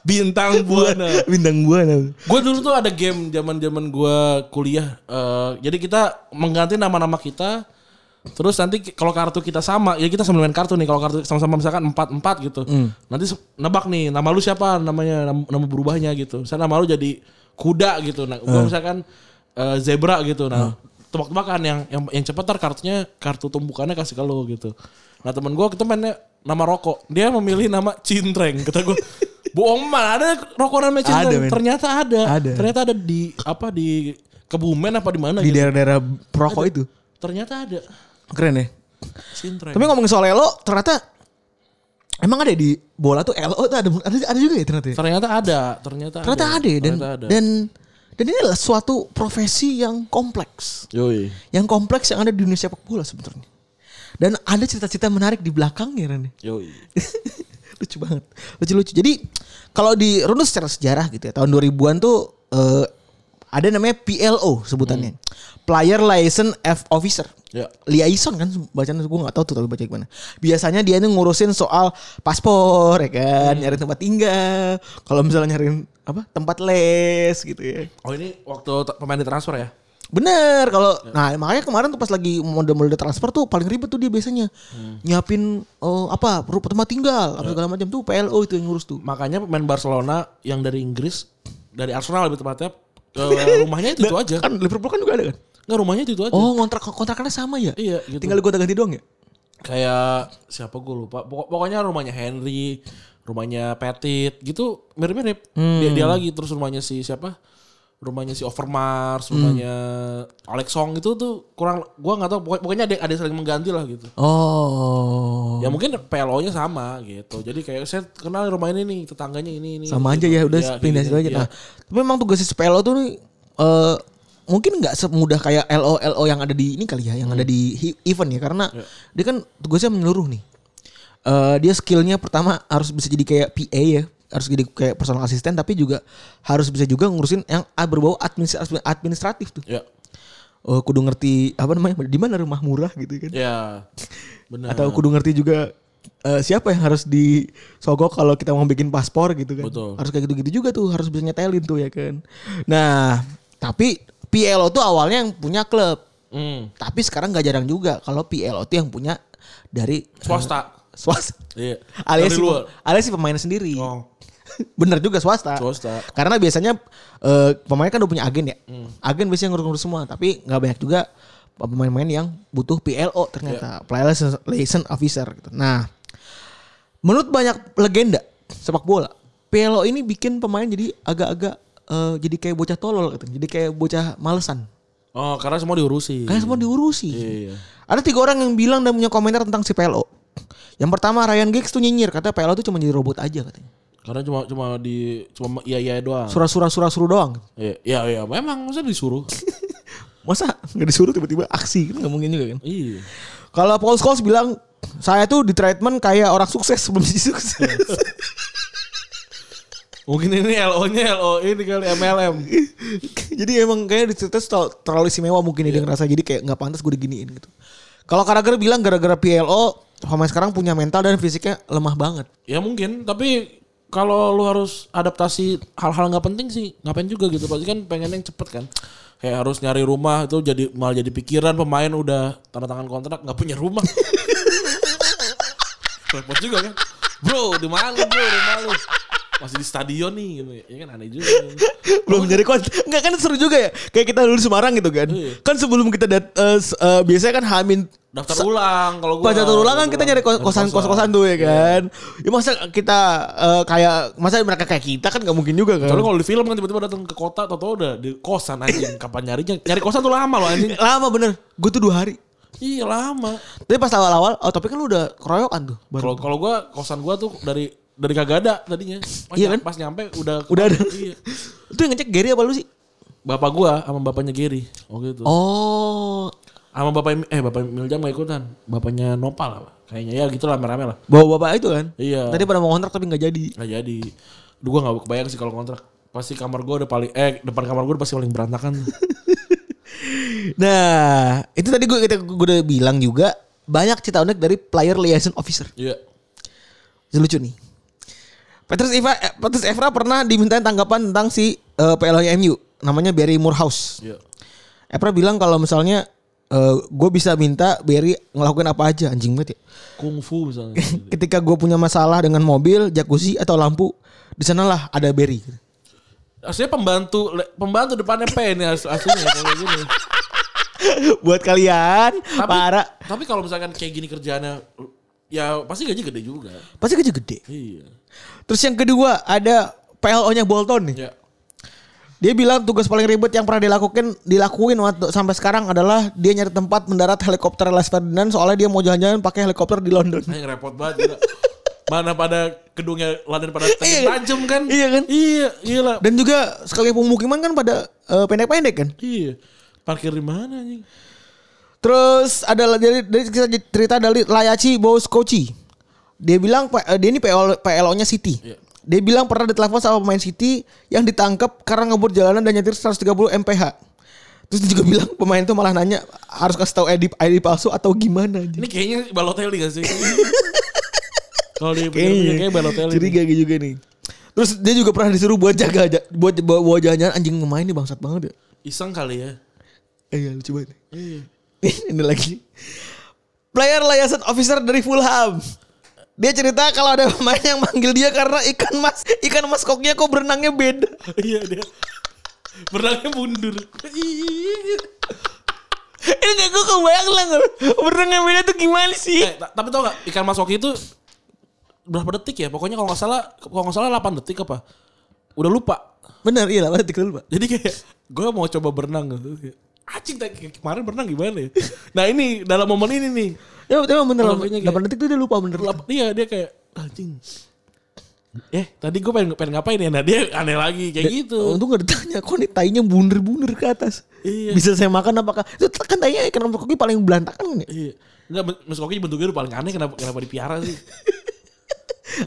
Speaker 3: Bintang buana.
Speaker 2: Bintang buana.
Speaker 3: Gue dulu tuh ada game zaman-zaman gua kuliah. eh, jadi kita mengganti nama-nama kita. Terus nanti ki- kalau kartu kita sama, ya kita sambil main kartu nih. Kalau kartu sama-sama misalkan 4-4 gitu. Nanti se- nebak nih, nama lu siapa namanya, nam- nama, berubahnya gitu. Misalnya nama lu jadi kuda gitu. Nah, gua misalkan eh, zebra gitu. Nah, tebak-tebakan yang yang yang cepat ntar kartunya kartu tumpukannya kasih ke lu gitu. Nah, temen gua kita mainnya nama rokok. Dia memilih nama Cintreng. Kata gua, bohong man, ada rokok namanya
Speaker 2: men.
Speaker 3: Cintreng. Ternyata ada.
Speaker 2: Ada.
Speaker 3: Ternyata ada di apa di Kebumen apa di mana
Speaker 2: Di
Speaker 3: gitu.
Speaker 2: daerah-daerah perokok itu.
Speaker 3: Ternyata ada.
Speaker 2: Keren ya.
Speaker 3: Sintra.
Speaker 2: Tapi ngomongin soal elo ternyata emang ada ya di bola tuh elo tuh ada ada, ada juga ya ternyata. Ya?
Speaker 3: ternyata ada, ternyata,
Speaker 2: Ternyata ada ya dan
Speaker 3: Ternyata ada.
Speaker 2: dan dan ini adalah suatu profesi yang kompleks.
Speaker 3: Yoi.
Speaker 2: Yang kompleks yang ada di dunia sepak bola sebetulnya. Dan ada cerita-cerita menarik di belakangnya Ren.
Speaker 3: Yoi.
Speaker 2: lucu banget lucu lucu jadi kalau dirunut secara sejarah gitu ya tahun 2000-an tuh eh, ada namanya PLO sebutannya. Player Liaison F Officer.
Speaker 3: Ya.
Speaker 2: Liaison kan bacaan gue nggak tahu tuh tapi baca gimana. Biasanya dia tuh ngurusin soal paspor ya kan, nyari tempat tinggal, kalau misalnya nyariin apa tempat les gitu ya.
Speaker 3: Oh ini waktu ta- pemain di transfer ya?
Speaker 2: Bener kalau nah makanya kemarin tuh pas lagi mode-mode transfer tuh paling ribet tuh dia biasanya
Speaker 3: Hmm.
Speaker 2: nyiapin eh, apa ru- tempat tinggal
Speaker 3: Ya.
Speaker 2: apa segala macam tuh PLO itu yang ngurus tuh.
Speaker 3: Makanya pemain Barcelona yang dari Inggris, dari Arsenal lebih tepatnya, eh, rumahnya itu, itu aja.
Speaker 2: Kan Liverpool kan juga ada kan?
Speaker 3: Enggak rumahnya itu, itu aja.
Speaker 2: Oh, kontrak kontrakannya sama ya?
Speaker 3: Iya, gitu.
Speaker 2: Tinggal gue ganti doang ya?
Speaker 3: Kayak siapa gue lupa. Pokok- pokoknya rumahnya Henry, rumahnya Petit gitu mirip-mirip.
Speaker 2: Hmm.
Speaker 3: Dia, dia lagi terus rumahnya si siapa? Rumahnya si Overmars, rumahnya
Speaker 2: Hmm.
Speaker 3: Alex Song itu tuh kurang gua nggak tahu pokok- pokoknya ada ada yang saling mengganti lah gitu.
Speaker 2: Oh.
Speaker 3: Ya mungkin PLO-nya sama gitu. Jadi kayak saya kenal rumah ini nih, tetangganya ini ini.
Speaker 2: sama aja
Speaker 3: gitu.
Speaker 2: ya udah
Speaker 3: Iya,
Speaker 2: pindah
Speaker 3: iya,
Speaker 2: situ aja.
Speaker 3: iya.
Speaker 2: Nah, tapi memang tugas si PLO tuh nih, eh, mungkin nggak semudah kayak LO LO yang ada di ini kali ya, yang ada
Speaker 3: Hmm.
Speaker 2: di hi- event ya karena
Speaker 3: Iya.
Speaker 2: dia kan tugasnya menyeluruh nih. Eh dia skillnya pertama harus bisa jadi kayak PA ya, harus jadi kayak personal assistant tapi juga harus bisa juga ngurusin yang a- berbau administratif, administratif tuh.
Speaker 3: Ya.
Speaker 2: Oh, kudu ngerti apa namanya? Di mana rumah murah gitu kan.
Speaker 3: Ya. Benar.
Speaker 2: Atau kudu ngerti juga eh, siapa yang harus disogok kalau kita mau bikin paspor gitu kan.
Speaker 3: Betul.
Speaker 2: Harus kayak gitu-gitu juga tuh, harus bisa nyetelin tuh ya kan. Nah, tapi PLO tuh awalnya yang punya klub.
Speaker 3: Hmm.
Speaker 2: Tapi sekarang gak jarang juga kalau PLO tuh yang punya dari
Speaker 3: Swasta.
Speaker 2: swasta.
Speaker 3: Iya.
Speaker 2: Alias
Speaker 3: Dari
Speaker 2: si,
Speaker 3: luar.
Speaker 2: alias si pemain sendiri.
Speaker 3: Oh.
Speaker 2: Bener juga swasta.
Speaker 3: Swasta.
Speaker 2: Karena biasanya eh, pemain kan udah punya agen ya.
Speaker 3: Hmm.
Speaker 2: Agen biasanya ngurus-ngurus semua, tapi nggak banyak juga pemain-pemain yang butuh PLO
Speaker 3: Iya.
Speaker 2: ternyata, player liaison officer gitu. Nah, menurut banyak legenda sepak bola, PLO ini bikin pemain jadi agak-agak eh, jadi kayak bocah tolol gitu, jadi kayak bocah malesan.
Speaker 3: Oh, karena semua diurusi.
Speaker 2: Karena semua diurusi.
Speaker 3: Iya.
Speaker 2: Ada tiga orang yang bilang dan punya komentar tentang si PLO. Yang pertama Ryan Giggs tuh nyinyir katanya PLO tuh cuma jadi robot aja katanya.
Speaker 3: Karena cuma cuma di cuma iya iya doang.
Speaker 2: Surah-surah-surah suruh doang. gitu.
Speaker 3: Iya iya iya. Memang masa disuruh.
Speaker 2: Masa nggak disuruh tiba-tiba aksi kan nggak mungkin juga kan.
Speaker 3: iya.
Speaker 2: Kalau Paul Scholes bilang saya tuh di treatment kayak orang sukses sebelum jadi sukses.
Speaker 3: Mungkin ini LO-nya LO ini kali MLM.
Speaker 2: jadi emang kayaknya di treatment terl- terlalu istimewa mungkin dia ngerasa jadi kayak nggak pantas gue diginiin gitu. Kalau Karager bilang gara-gara PLO pemain sekarang punya mental dan fisiknya lemah banget.
Speaker 3: ya mungkin, tapi kalau lu harus adaptasi hal-hal nggak penting sih, ngapain juga gitu. Pasti kan pengen yang cepet kan. Kayak harus nyari rumah itu jadi malah jadi pikiran pemain udah tanda tangan kontrak nggak punya rumah. Repot juga kan. Bro, di mana lu, bro, rumah lu? Masih di stadion nih gitu. Ya kan aneh juga.
Speaker 2: belum nyari konten nggak kan seru juga ya kayak kita dulu di Semarang gitu kan kan sebelum kita dat- eh, s- eh, biasanya kan Hamin
Speaker 3: Daftar ulang kalau gua.
Speaker 2: pas jatuh ulang kan kita nyari kos- kosan kos kosan tuh
Speaker 3: Iya.
Speaker 2: ya kan ya masa kita eh, kayak masa mereka kayak kita kan nggak mungkin juga kan
Speaker 3: Soalnya kalau di film kan tiba-tiba datang ke kota atau tau udah di kosan anjing. Kapan nyarinya? Nyari kosan tuh lama loh anjing.
Speaker 2: lama bener gue tuh dua hari
Speaker 3: Iya lama.
Speaker 2: tapi pas awal awal oh tapi kan lu udah keroyokan tuh baru.
Speaker 3: Kalau kalau gua kosan gua tuh dari dari kagak ada tadinya. Pas
Speaker 2: Iya
Speaker 3: nyam-
Speaker 2: kan?
Speaker 3: Pas nyampe udah
Speaker 2: udah ada
Speaker 3: Iya.
Speaker 2: itu yang ngecek Gary apa lu sih
Speaker 3: Bapak gua sama bapaknya Giri. Oh gitu.
Speaker 2: oh
Speaker 3: Sama bapak eh bapak Miljam gak ikutan. Bapaknya Nopal apa? Kayaknya ya gitu rame-rame lah.
Speaker 2: bawa bapak itu kan
Speaker 3: Iya.
Speaker 2: tadi pada mau kontrak tapi nggak jadi
Speaker 3: Gak jadi. Duh gua gak kebayang sih kalau kontrak. Pasti kamar gua udah paling eh depan kamar gua udah pasti paling berantakan.
Speaker 2: nah itu tadi gue kita gue udah bilang juga banyak cerita unik dari player liaison officer
Speaker 3: Iya.
Speaker 2: Itu lucu nih. Petrus Eva eh, Petrus Evra pernah dimintain tanggapan tentang si eh, PLO MU namanya Barry Morehouse.
Speaker 3: Iya.
Speaker 2: Evra bilang kalau misalnya gue bisa minta Barry ngelakuin apa aja anjing banget ya.
Speaker 3: Kungfu misalnya.
Speaker 2: Ketika gue punya masalah dengan mobil, jacuzzi atau lampu, di sanalah ada Barry.
Speaker 3: Aslinya pembantu le- pembantu depannya P ini as- aslinya kalau gini.
Speaker 2: Buat kalian
Speaker 3: Tapi,
Speaker 2: para
Speaker 3: tapi kalau misalkan kayak gini kerjaannya ya pasti gaji gede juga.
Speaker 2: pasti gaji gede.
Speaker 3: Iya.
Speaker 2: Terus yang kedua ada PLO-nya Bolton nih.
Speaker 3: Ya.
Speaker 2: Dia bilang tugas paling ribet yang pernah dilakukan dilakuin waktu sampai sekarang adalah dia nyari tempat mendarat helikopter Les Ferdinand soalnya dia mau jalan-jalan pakai helikopter di London.
Speaker 3: Anjing repot banget gila. Mana pada gedungnya London pada
Speaker 2: Iya.
Speaker 3: tajam kan?
Speaker 2: Iya kan?
Speaker 3: Iya, iyalah.
Speaker 2: Dan juga sekali pemukiman kan pada eh, pendek-pendek kan.
Speaker 3: Iya. Parkir di mana anjing?
Speaker 2: Terus ada dari dari kisah cerita dari Layaci Boscoci. Dia bilang P- eh, dia ini PLO PLO-nya City.
Speaker 3: Iya.
Speaker 2: Dia bilang pernah ditelepon sama pemain City yang ditangkap karena ngebut jalanan dan nyetir 130 mph. Terus dia juga bilang pemain itu malah nanya harus kasih tahu ID, ID palsu atau gimana.
Speaker 3: Ini kayaknya Balotelli gak sih? Kalau di kayaknya Balotelli.
Speaker 2: Jadi gak juga nih. Terus dia juga pernah disuruh buat jaga aja, buat bawa, bawa jalan anjing ngemain nih bangsat banget ya.
Speaker 3: Iseng kali ya.
Speaker 2: Eh, Iya lucu banget. Ini lagi. Player liaison officer dari Fulham. Dia cerita kalau ada pemain yang manggil dia karena ikan mas ikan mas koknya kok berenangnya beda.
Speaker 3: Iya dia. Berenangnya mundur. Iya.
Speaker 2: Ini kayak gue kebayang lah Gor. berenangnya beda tuh gimana sih?
Speaker 3: Eh, ta- tapi tau gak ikan mas Oki itu berapa detik ya? Pokoknya kalau nggak salah kalau nggak salah 8 detik apa? Udah lupa.
Speaker 2: Bener iya lah detik dulu pak.
Speaker 3: Jadi kayak gue mau coba berenang gitu. Kayak, Anjing tadi- kayak kemarin berenang gimana ya? Nah ini dalam momen ini nih.
Speaker 2: Ya emang bener
Speaker 3: Kalau
Speaker 2: Om.
Speaker 3: kayaknya kayak-
Speaker 2: Delapan detik tuh dia lupa bener.
Speaker 3: Lap- Iya dia kayak anjing. Eh tadi gue pengen, pengen ngapain ya? Nah dia aneh lagi kayak gitu.
Speaker 2: "Oh, Untung gak ditanya kok nih tainya bunder-bunder ke atas.
Speaker 3: Iya.
Speaker 2: Bisa saya makan apakah? Itu kan tainya ikan mas koknya paling kan ya? belantakan nih.
Speaker 3: Iya. Enggak Mas- Mas Koki bentuknya udah paling aneh kenapa kenapa dipiara sih?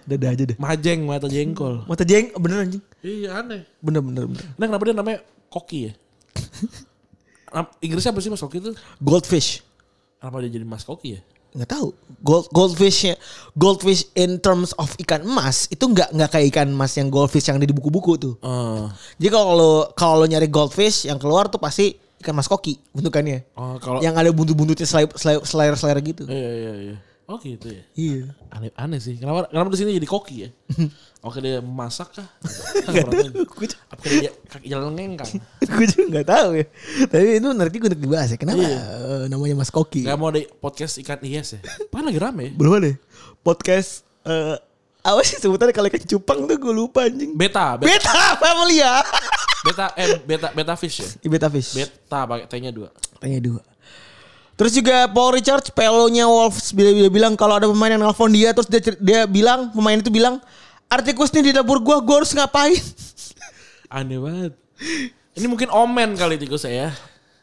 Speaker 2: Dada aja deh.
Speaker 3: Majeng mata jengkol.
Speaker 2: Mata jeng bener anjing.
Speaker 3: Iya aneh.
Speaker 2: Bener bener bener.
Speaker 3: Nah kenapa dia namanya Koki ya? Nam- Inggrisnya apa sih Mas Koki itu?
Speaker 2: Goldfish.
Speaker 3: Kenapa dia jadi Mas Koki ya?
Speaker 2: nggak tahu gold goldfishnya goldfish in terms of ikan emas itu nggak nggak kayak ikan emas yang goldfish yang ada di buku-buku tuh
Speaker 3: Eh,
Speaker 2: jadi kalau lo kalau lo nyari goldfish yang keluar tuh pasti ikan mas koki bentukannya
Speaker 3: oh, kalau
Speaker 2: yang ada buntu-buntutnya selayer selayer selayer, selayer gitu
Speaker 3: iya iya iya. Oh gitu ya.
Speaker 2: iya
Speaker 3: Aneh, aneh sih. Kenapa kenapa di sini jadi koki ya? Oke dia masak kah?
Speaker 2: Nggak tahu.
Speaker 3: Apa dia kaki jalan ngengkang?
Speaker 2: gue juga nggak tahu ya tapi itu nanti gue untuk dibahas ya kenapa eh, namanya mas koki
Speaker 3: Gak mau ada podcast ikan IS ya? Pan lagi rame ya?
Speaker 2: belum ada ya? podcast eh apa sih sebutannya kalau ikan cupang tuh gue lupa anjing
Speaker 3: Beta, beta,
Speaker 2: beta family ya
Speaker 3: beta, eh, beta, beta fish ya?
Speaker 2: beta fish
Speaker 3: Beta pakai T-nya dua.
Speaker 2: Tanya dua. Terus juga Paul Richards pelonya Wolves bila bila bilang kalau ada pemain yang nelfon dia terus dia cer- dia bilang pemain itu bilang Artikus nih di dapur gua gua harus ngapain?
Speaker 3: Aneh banget. Ini mungkin omen kali tikus ya. saya.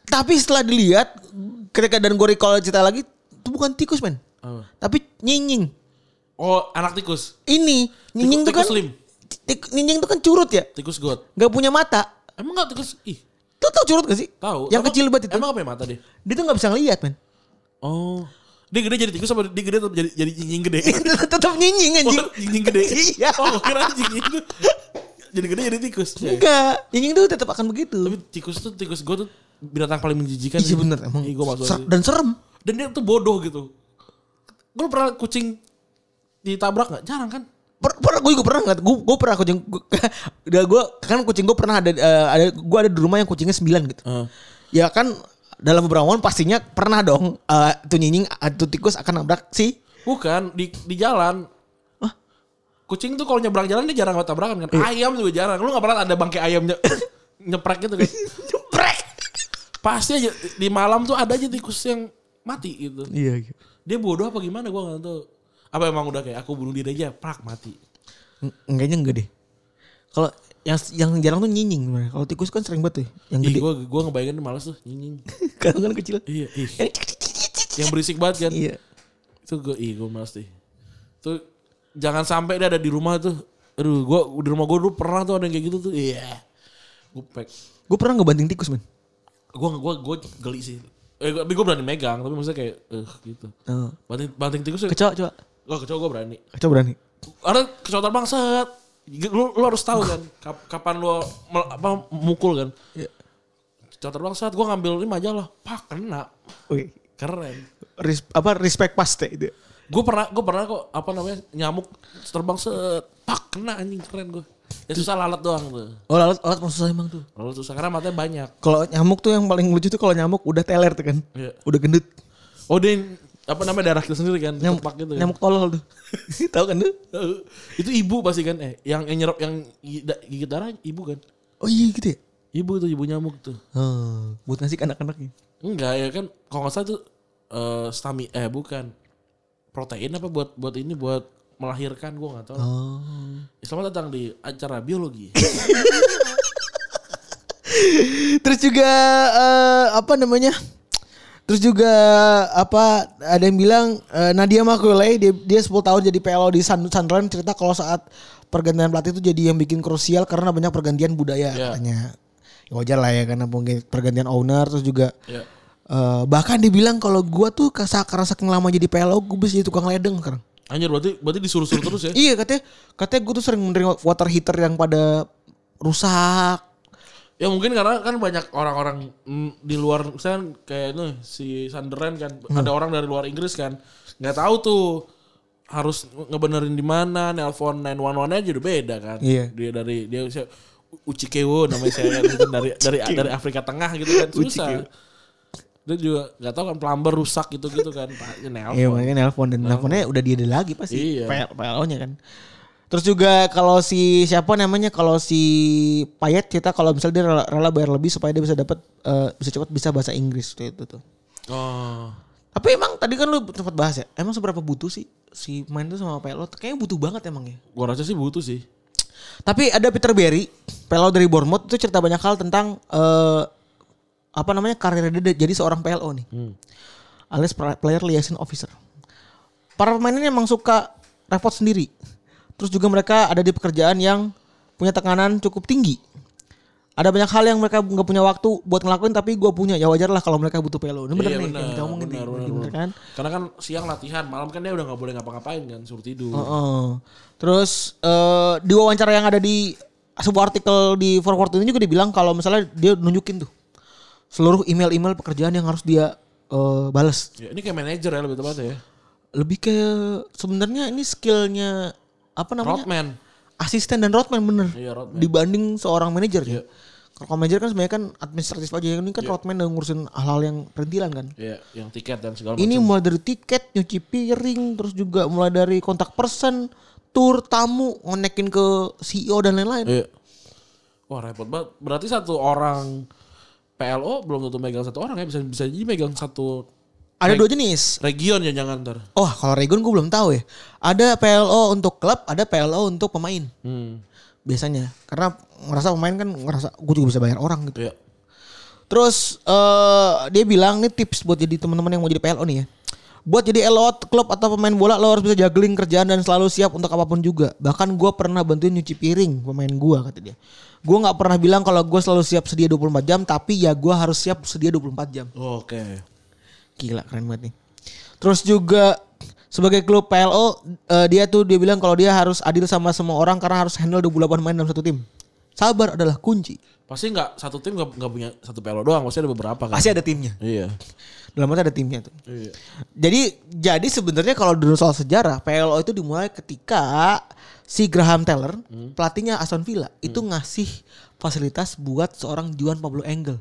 Speaker 2: Tapi setelah dilihat ketika dan gue recall cerita lagi itu bukan tikus men.
Speaker 3: Apa?
Speaker 2: Tapi nyinying.
Speaker 3: Oh, anak tikus.
Speaker 2: Ini nyinying tuh
Speaker 3: Tikus-
Speaker 2: kan
Speaker 3: tikus lim.
Speaker 2: Tik- nyinying tuh kan curut ya.
Speaker 3: Tikus god.
Speaker 2: Gak punya mata.
Speaker 3: Emang gak tikus? Ih,
Speaker 2: Tuh tau curut gak sih?
Speaker 3: tahu.
Speaker 2: Yang
Speaker 3: Emang-
Speaker 2: kecil banget itu.
Speaker 3: Emang apa ya mata dia?
Speaker 2: Dia tuh gak bisa ngelihat men.
Speaker 3: Oh. Dia gede jadi tikus apa dia gede tetap jadi jadi jinjing gede?
Speaker 2: Tetap nyinying anjing.
Speaker 3: Oh, jinjing gede.
Speaker 2: Iya.
Speaker 3: Oh, kira jinjing itu. Jadi gede jadi tikus.
Speaker 2: Enggak. Nyinying tuh tetap akan begitu.
Speaker 3: Tapi tikus tuh tikus god tuh binatang paling menjijikan.
Speaker 2: Iya bener emang.
Speaker 3: Iya, gue masuk.
Speaker 2: Ser- dan serem.
Speaker 3: Dan dia tuh bodoh gitu. Gue pernah kucing ditabrak gak? Jarang kan?
Speaker 2: Per, per, gue juga pernah nggak? Gue, gue pernah kucing. Gue, udah gue kan kucing gue pernah ada eh, ada gue ada di rumah yang kucingnya 9 gitu.
Speaker 3: Heeh.
Speaker 2: Ya kan dalam beberapa tahun pastinya pernah dong eh, tuh nyinying atau tikus akan nabrak si
Speaker 3: Bukan di di jalan. Kucing tuh kalau nyebrang jalan dia jarang banget tabrakan kan. Ayam juga jarang. Lu gak pernah ada bangke ayamnya nyeprek gitu kan.
Speaker 2: Jeprek.
Speaker 3: Pasti aja di malam tuh ada aja tikus yang mati gitu.
Speaker 2: Iya.
Speaker 3: Dia bodoh apa gimana gua gak tahu. Apa emang udah kayak aku bunuh diri aja prak mati.
Speaker 2: Enggaknya enggak deh. Kalau yang yang jarang tuh nyinying sebenarnya. Kalau tikus kan sering banget tuh yang
Speaker 3: Ih,
Speaker 2: gede.
Speaker 3: gua gua ngebayangin males tuh nyinyin.
Speaker 2: Kalau kan kecil.
Speaker 3: iya, ih. Yang berisik banget kan.
Speaker 2: Iya.
Speaker 3: Itu gue ih gue males deh. Tuh jangan sampai dia ada di rumah tuh. Aduh, gua di rumah gua dulu pernah tuh ada yang kayak gitu tuh. Iya. Gue pek.
Speaker 2: Gue pernah ngebanting tikus men.
Speaker 3: gue gue gue geli sih eh, gua- tapi gue berani megang tapi maksudnya kayak eh gitu
Speaker 2: Oh.
Speaker 3: banting banting tikus tuh-
Speaker 2: Kecoa coba.
Speaker 3: oh kecoa gue berani
Speaker 2: Kecoa berani.
Speaker 3: karena kecoa terbang set lu, lu harus tahu kan kap- kapan lu mel- apa mukul kan
Speaker 2: Iya.
Speaker 3: kecoa terbang set gue ngambil ini majalah pak kena
Speaker 2: Oke.
Speaker 3: keren
Speaker 2: Res- apa respect paste itu.
Speaker 3: gue pernah gue pernah kok apa namanya nyamuk terbang set pak kena anjing keren gue ya susah lalat doang tuh
Speaker 2: Oh lalat lalat maksud saya emang tuh.
Speaker 3: lalu susah karena matanya banyak
Speaker 2: Kalau nyamuk tuh yang paling lucu tuh kalau nyamuk udah teler tuh kan.
Speaker 3: Iya.
Speaker 2: Udah gendut.
Speaker 3: oh dia apa namanya darah kita sendiri kan
Speaker 2: Nyamuk,
Speaker 3: ketupak gitu kan.
Speaker 2: nyamuk tolol tuh. Tahu kan tuh?
Speaker 3: Eh, itu ibu pasti kan eh yang yang nyerap yang gi- da- gigit darah ibu kan
Speaker 2: Oh iya gitu ya.
Speaker 3: ibu tuh ibu nyamuk tuh
Speaker 2: Hmm, buat ngasih ke anak-anaknya.
Speaker 3: enggak ya kan kalau nggak salah tuh eh stami eh bukan protein apa buat buat ini buat melahirkan gua nggak tahu
Speaker 2: Oh.
Speaker 3: selamat datang di acara biologi
Speaker 2: Terus juga eh, apa namanya? Terus juga apa ada yang bilang eh, Nadia Makulay dia, dia 10 tahun jadi PLO di Sun- Sunderland cerita kalau saat pergantian pelatih itu jadi yang bikin krusial karena banyak pergantian budaya
Speaker 3: Iya.
Speaker 2: katanya. Ya, wajar lah ya karena mungkin pergantian owner terus juga
Speaker 3: Iya.
Speaker 2: eh, bahkan dibilang kalau gua tuh kasa kerasa lama jadi PLO gue bisa jadi tukang ledeng sekarang.
Speaker 3: Anjir berarti berarti disuruh-suruh terus ya.
Speaker 2: Iya katanya katanya gue tuh sering menerima water heater yang pada rusak.
Speaker 3: Ya mungkin karena kan banyak orang-orang mm, di luar misalnya kayak nih si Sunderland kan
Speaker 2: Hmm.
Speaker 3: ada orang dari luar Inggris kan nggak tahu tuh harus ngebenerin di mana nelpon 911 aja udah beda kan.
Speaker 2: Iya.
Speaker 3: Dia dari dia usia Uchikewo namanya saya kan gitu, dari dari dari Afrika Tengah gitu kan susah. Dia juga nggak tahu kan plumber rusak gitu gitu kan pak
Speaker 2: Iya
Speaker 3: nelpon.
Speaker 2: makanya nelpon dan nelponnya udah dia ada lagi pasti
Speaker 3: Iya.
Speaker 2: PLO-nya kan. Terus juga kalau si siapa namanya kalau si Payet cerita kalau misalnya dia rela, rela bayar lebih supaya dia bisa dapat eh, bisa cepat bisa bahasa Inggris tuh itu tuh.
Speaker 3: Oh.
Speaker 2: Tapi emang tadi kan lu sempat bahas ya. Emang seberapa butuh sih si main tuh sama PLO? Kayaknya butuh banget emang ya.
Speaker 3: Gua rasa sih butuh sih.
Speaker 2: Tapi ada Peter Berry, PLO dari Bournemouth itu cerita banyak hal tentang eh, apa namanya karir dia jadi seorang PLO nih.
Speaker 3: Hmm.
Speaker 2: Alias pra- player liaison officer. Para pemainnya emang suka repot sendiri. Terus juga mereka ada di pekerjaan yang punya tekanan cukup tinggi. Ada banyak hal yang mereka nggak punya waktu buat ngelakuin tapi gue punya. Ya wajar lah kalau mereka butuh PLO. Ini bener
Speaker 3: Iya,
Speaker 2: nih yang kita omongin
Speaker 3: benar,
Speaker 2: nih.
Speaker 3: benar,
Speaker 2: Bener
Speaker 3: benar.
Speaker 2: kan?
Speaker 3: Karena kan siang latihan, malam kan dia udah nggak boleh ngapa-ngapain kan, suruh tidur.
Speaker 2: Heeh. Terus eh, di wawancara yang ada di sebuah artikel di Forward ini juga dibilang kalau misalnya dia nunjukin tuh seluruh email-email pekerjaan yang harus dia eh, balas.
Speaker 3: Ya, ini kayak manajer ya lebih tepatnya ya.
Speaker 2: Lebih ke sebenarnya ini skillnya apa namanya?
Speaker 3: Rodman.
Speaker 2: Asisten dan roadman bener.
Speaker 3: Iya, roadman. Iya.
Speaker 2: Dibanding seorang manajer ya. Kalau manajer kan sebenarnya kan administratif aja. Ini kan roadman yang ngurusin hal-hal yang perintilan kan.
Speaker 3: Iya, yang tiket dan segala macam.
Speaker 2: Ini mulai dari tiket, nyuci piring, terus juga mulai dari kontak person, tour tamu, ngonekin ke CEO dan lain-lain.
Speaker 3: Iya. Wah, repot banget. Berarti satu orang PLO belum tentu megang satu orang ya, bisa bisa jadi megang satu
Speaker 2: Ada dua jenis.
Speaker 3: region ya jangan ntar.
Speaker 2: Oh, kalau Regon gue belum tahu ya. Ada PLO untuk klub, ada PLO untuk pemain.
Speaker 3: Hmm.
Speaker 2: Biasanya karena ngerasa pemain kan ngerasa gue juga bisa bayar orang gitu.
Speaker 3: Iya.
Speaker 2: Terus eh dia bilang nih tips buat jadi teman-teman yang mau jadi PLO nih ya. Buat jadi LO klub atau pemain bola lo harus bisa juggling kerjaan dan selalu siap untuk apapun juga. Bahkan gua pernah bantuin nyuci piring pemain gua kata dia. Gua nggak pernah bilang kalau gua selalu siap sedia 24 jam tapi ya gua harus siap sedia 24 jam.
Speaker 3: Oke.
Speaker 2: Gila keren banget nih. Terus juga sebagai klub PLO eh, dia tuh dia bilang kalau dia harus adil sama semua orang karena harus handle 28 pemain dalam satu tim. Sabar adalah kunci.
Speaker 3: Pasti nggak satu tim nggak nggak punya satu PLO doang, pasti ada beberapa kan.
Speaker 2: Pasti ada timnya.
Speaker 3: Iya.
Speaker 2: Dalam arti ada timnya tuh.
Speaker 3: Iya.
Speaker 2: Jadi jadi sebenarnya kalau dulu soal sejarah PLO itu dimulai ketika si Graham Taylor pelatihnya Aston Villa itu ngasih fasilitas buat seorang Juan Pablo Engel.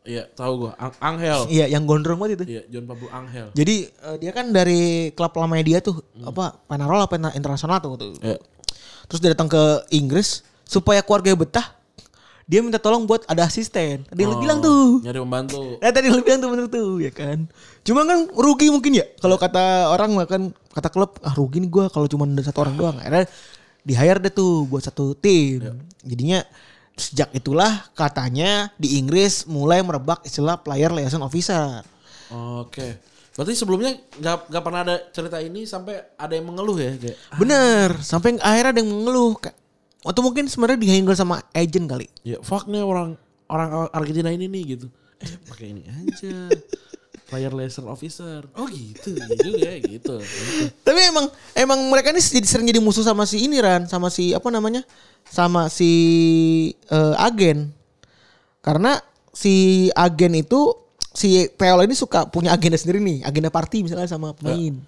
Speaker 3: Iya, tahu gua. Ang- Angel.
Speaker 2: Iya, yang gondrong banget itu.
Speaker 3: Oh. Iya, John Pablo Angel.
Speaker 2: Jadi eh, dia kan dari klub lamanya dia tuh apa Penarol apa Pena- internasional tuh, tuh.
Speaker 3: Iya.
Speaker 2: Terus dia datang ke Inggris supaya keluarga betah. Dia minta tolong buat ada asisten. Ada
Speaker 3: Oh.
Speaker 2: yang lu bilang tuh.
Speaker 3: Iya. Nyari pembantu.
Speaker 2: Nah tadi lu bilang tuh bener tuh ya kan. Cuma kan rugi mungkin ya. Kalau kata orang mah kan kata klub ah rugi nih gue kalau cuma ada satu orang doang. Akhirnya di hire deh tuh buat satu tim. Jadinya sejak itulah katanya di Inggris mulai merebak istilah player liaison officer.
Speaker 3: Oke. Berarti sebelumnya nggak nggak pernah ada cerita ini sampai ada yang mengeluh ya kayak.
Speaker 2: Bener sampai akhirnya ada yang mengeluh. Ka- Atau mungkin sebenarnya dihandle sama agent kali.
Speaker 3: Ya fuck nih orang orang Argentina ini nih gitu. Eh pakai ini aja. Player laser officer. Oh gitu, iya juga ya gitu.
Speaker 2: Tapi emang emang mereka ini jadi sering jadi musuh sama si ini Ran, sama si apa namanya? Sama si eh, agen. Karena si agen itu si PL ini suka punya agenda sendiri nih, agenda party misalnya sama pemain.